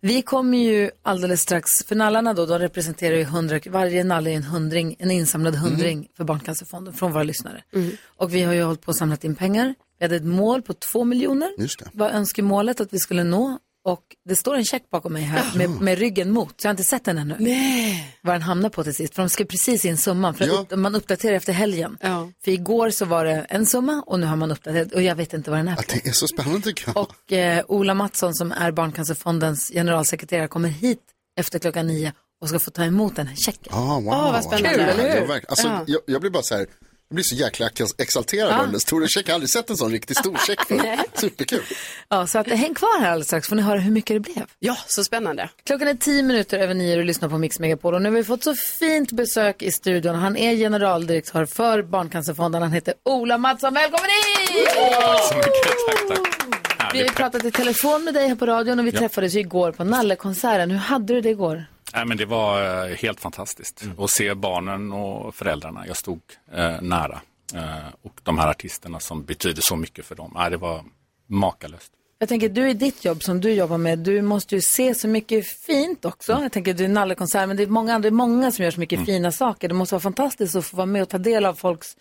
Vi kommer ju alldeles strax, för nallarna då, de representerar ju hundra, varje nalle är en hundring, en insamlad Mm. hundring för Barncancerfonden från våra lyssnare. Mm. Och vi har ju hållit på och samlat in pengar. Vi hade ett mål på två miljoner, Just det. var önskemålet att vi skulle nå. Och det står en check bakom mig här med, med ryggen mot, så jag har inte sett den ännu. Nej. Vad den hamnar på till sist, för de skrev precis in summan, för att upp, man uppdaterar efter helgen. För igår så var det en summa och nu har man uppdaterat och jag vet inte vad den är på. Det är så spännande tycker jag. Och eh, Ola Mattsson som är Barncancerfondens generalsekreterare kommer hit efter klockan nio och ska få ta emot den här checken. Ah, wow. Åh, vad spännande. Kul, eller hur? Ja, verkligen. alltså, Ja. jag, jag blir bara så här, jag blir så jäkla exalterad Ja. av den där stora checken. Jag har aldrig sett en sån riktigt stor check [laughs] förut. Superkul. Ja, så att, eh, häng kvar här alldeles strax får ni höra hur mycket det blev. Ja, så spännande. Klockan är tio minuter över nio och du lyssnar på Mix Megapol och nu har vi fått så fint besök i studion. Han är generaldirektör för Barncancerfonden. Han heter Ola Mattsson. Välkommen hit! Tack så mycket, tack, tack. Vi har ju Härligt. pratat i telefon med dig här på radion och vi Ja. träffades ju igår på Nallekonserten. Hur hade du det igår? Nej, men det var eh, helt fantastiskt Mm. att se barnen och föräldrarna. Jag stod eh, nära. Eh, och de här artisterna som betyder så mycket för dem. Nej, det var makalöst. Jag tänker du i ditt jobb som du jobbar med, du måste ju se så mycket fint också. Mm. Jag tänker du är nallekonsert, men det är många andra, många som gör så mycket fina saker. Det måste vara fantastiskt att få vara med och ta del av folks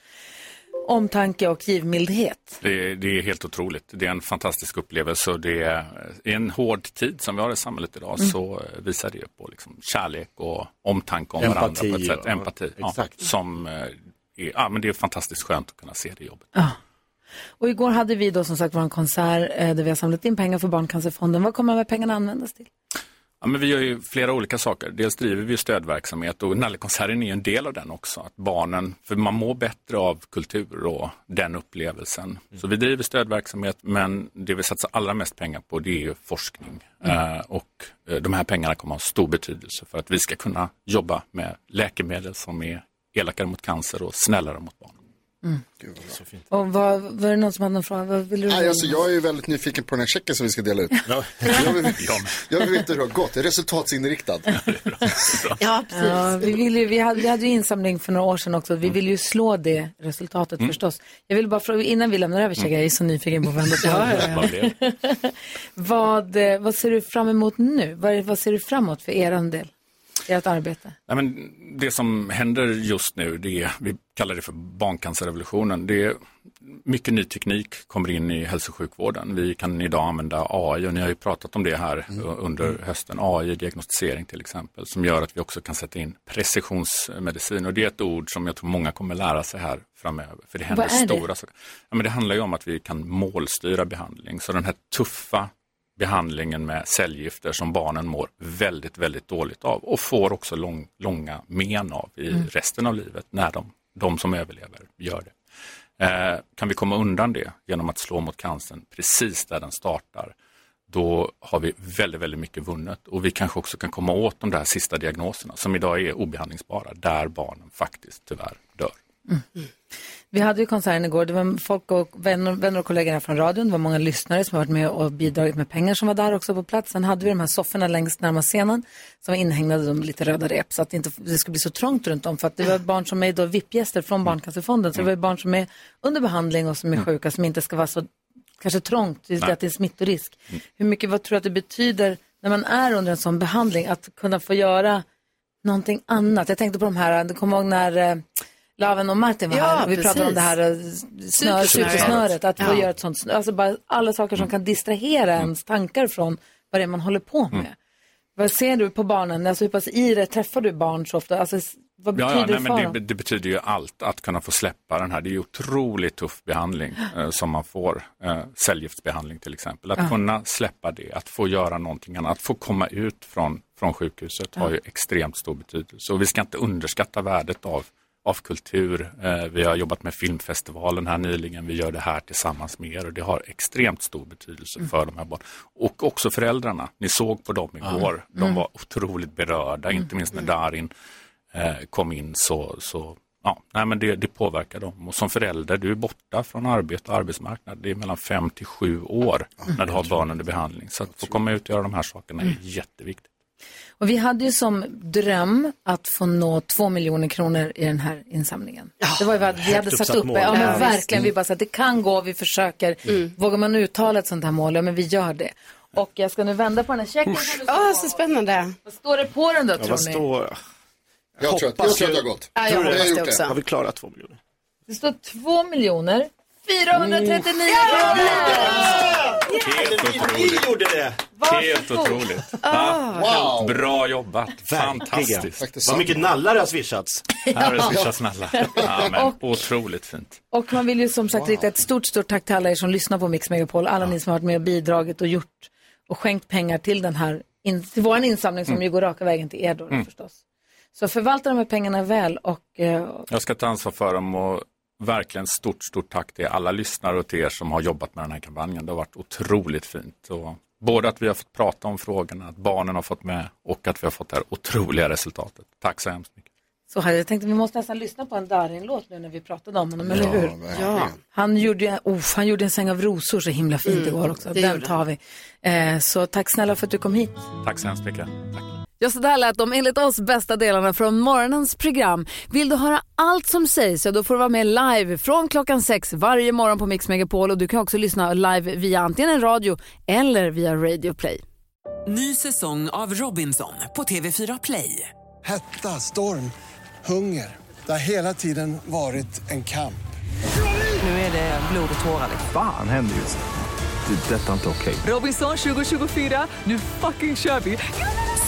omtanke och givmildhet. Det, det är helt otroligt. Det är en fantastisk upplevelse. Och det är, I en hård tid som vi har i samhället idag Mm. så visar det på liksom kärlek och omtanke om Empati varandra. På ett sätt. och- Empati. exakt. Ja, som, eh, är, ja, men det är fantastiskt skönt att kunna se det jobbet. Och igår hade vi då som sagt vår konsert eh, där vi har samlat in pengar för Barncancerfonden. Vad kommer de här pengarna användas till? Ja, men vi gör ju flera olika saker. Dels driver vi stödverksamhet och Nallekonserten är ju en del av den också. Att barnen, för man mår bättre av kultur och den upplevelsen. Så vi driver stödverksamhet men det vi satsar allra mest pengar på det är ju forskning. Eh, och eh, de här pengarna kommer ha stor betydelse för att vi ska kunna jobba med läkemedel som är elakare mot cancer och snällare mot barn. Mm. Så fint. Och vad, var det någon som hade någon fråga? Vad vill du Nej, alltså, jag är ju väldigt nyfiken på den här checken som vi ska dela ut. Jag vill, jag vill veta hur det har gått. Jag är resultatsinriktad. Ja, Ja, vi, vill ju, vi, hade, vi hade ju insamling för några år sedan också. Vi vill ju slå det resultatet Mm. förstås. Jag vill bara fråga, innan vi lämnar över checkar, jag är så nyfiken på vem det är. Vad blev det? Vad, eh, vad ser du fram emot nu? Vad, är- vad ser du framåt för er del? Ert arbete? Nej, men det som händer just nu, det är, vi kallar det för barncancerrevolutionen. Det är mycket ny teknik kommer in i hälso och sjukvården. Vi kan idag använda AI och ni har ju pratat om det här Mm. eh, under hösten. AI-diagnostisering till exempel som gör att vi också kan sätta in precisionsmedicin. Och det är ett ord som jag tror många kommer lära sig här framöver. För det händer Vad är det? stora saker. Ja, men det handlar ju om att vi kan målstyra behandling. Så den här tuffa behandlingen med cellgifter som barnen mår väldigt, väldigt dåligt av och får också lång, långa men av i Mm. resten av livet när de, de som överlever gör det. Eh, kan vi komma undan det genom att slå mot cancern precis där den startar, då har vi väldigt, väldigt mycket vunnet och vi kanske också kan komma åt de där sista diagnoserna som idag är obehandlingsbara, där barnen faktiskt tyvärr dör. Vi hade ju konserten igår. Det var folk och vänner, vänner och kollegor här från radion. Det var många lyssnare som har varit med och bidragit med pengar som var där också på plats. Sen hade vi de här sofforna längst närmast scenen som var inhägnade de lite röda rep så att det inte det skulle bli så trångt runt om. För att det var barn som är då VIP-gäster från Barncancerfonden. Så det var ju barn som är under behandling och som är sjuka som inte ska vara så kanske trångt, just Nej. att det är smittorisk. Mm. Hur mycket, vad tror du att det betyder när man är under en sån behandling att kunna få göra någonting annat. Jag tänkte på de här, du kommer ihåg när eh, Laven och Martin var Ja, här och vi precis. pratade om det här eh, snör, Supersnöret. supersnöret, att Ja. ja. göra ett sånt, snö- alltså bara alla saker Mm. som kan distrahera ens tankar från vad det är man håller på Mm. med. Vad ser du på barnen, alltså hur pass i det träffar du barn så ofta, alltså s- vad betyder Ja, ja, nej, det för men det, dem? det betyder ju allt att kunna få släppa den här. Det är ju otroligt tuff [laughs] behandling eh, som man får, eh, cellgiftsbehandling till exempel. Att Ja. kunna släppa det, att få göra någonting annat, att få komma ut från, från sjukhuset har Ja. ju extremt stor betydelse. Och vi ska inte underskatta värdet av, av kultur. Eh, vi har jobbat med filmfestivalen här nyligen, vi gör det här tillsammans med er och det har extremt stor betydelse Mm. för de här barnen. Och också föräldrarna, ni såg på dem igår, Ja. de Mm. var otroligt berörda, Mm. inte minst när Darin eh, kom in så, så ja, nej, men det, det påverkar dem. Och som förälder, du är borta från arbete och arbetsmarknad. Det är mellan fem till sju år när du har barn under behandling. Så att få komma ut och göra de här sakerna är jätteviktigt. Och vi hade ju som dröm att få nå två miljoner kronor i den här insamlingen. det var ju vad vi högt hade satt uppsatt upp. mål. Ja, Ja, men visst. verkligen. Vi Mm. bara sa att det kan gå, vi försöker. Vågar man uttala ett sånt här mål, ja men vi gör det. Och jag ska nu vända på den här checken. Åh, så spännande. Vad står det på den då, Ja, tror vad ni? står... Jag tror att- jag tror att det har gått. Ja, jag Tror du hoppas det? det Jag har gjort också. det. Har vi klarat två miljoner? Det står 2 miljoner 439 kronor. Ah! Vi gjorde det! Helt otroligt. Ah, wow. Bra jobbat, fantastiskt. Vad mycket nallar det har swishats. Här har det [laughs] swishats snälla. Ja, men, otroligt fint. Och man vill ju som sagt rikta ett stort, stort tack till alla er som lyssnar på Mix Megapol. Alla ni som har varit med och bidragit och gjort och skänkt pengar till den här, in, till våran insamling som Mm. ju går raka vägen till er då Mm. förstås. Så förvalta de här pengarna väl och eh, Jag ska ta ansvar för dem och verkligen stort, stort tack till alla lyssnare och till er som har jobbat med den här kampanjen. Det har varit otroligt fint. Och både att vi har fått prata om frågorna, att barnen har fått med och att vi har fått det här otroliga resultatet. Tack så hemskt mycket. så här, jag tänkte vi måste nästan lyssna på en Darin-låt nu när vi pratade om honom, eller Ja, hur? verkligen. Ja. Han gjorde, ju- oh, han gjorde en säng av rosor så himla fint igår också. det Den gjorde tar vi. Eh, så tack snälla för att du kom hit. Tack så hemskt mycket. Ja, så där lät de enligt oss bästa delarna från morgonens program. Vill du höra allt som sägs, ja, då får du vara med live från klockan sex varje morgon på Mix Megapol och du kan också lyssna live via antingen en radio eller via Radio Play. Ny säsong av Robinson på TV4 Play. Hetta, storm, hunger. Det har hela tiden varit en kamp. Nu är det blod och tårar. Fan händer just det. Det är detta inte okej. Robinson 2024, nu fucking kör vi!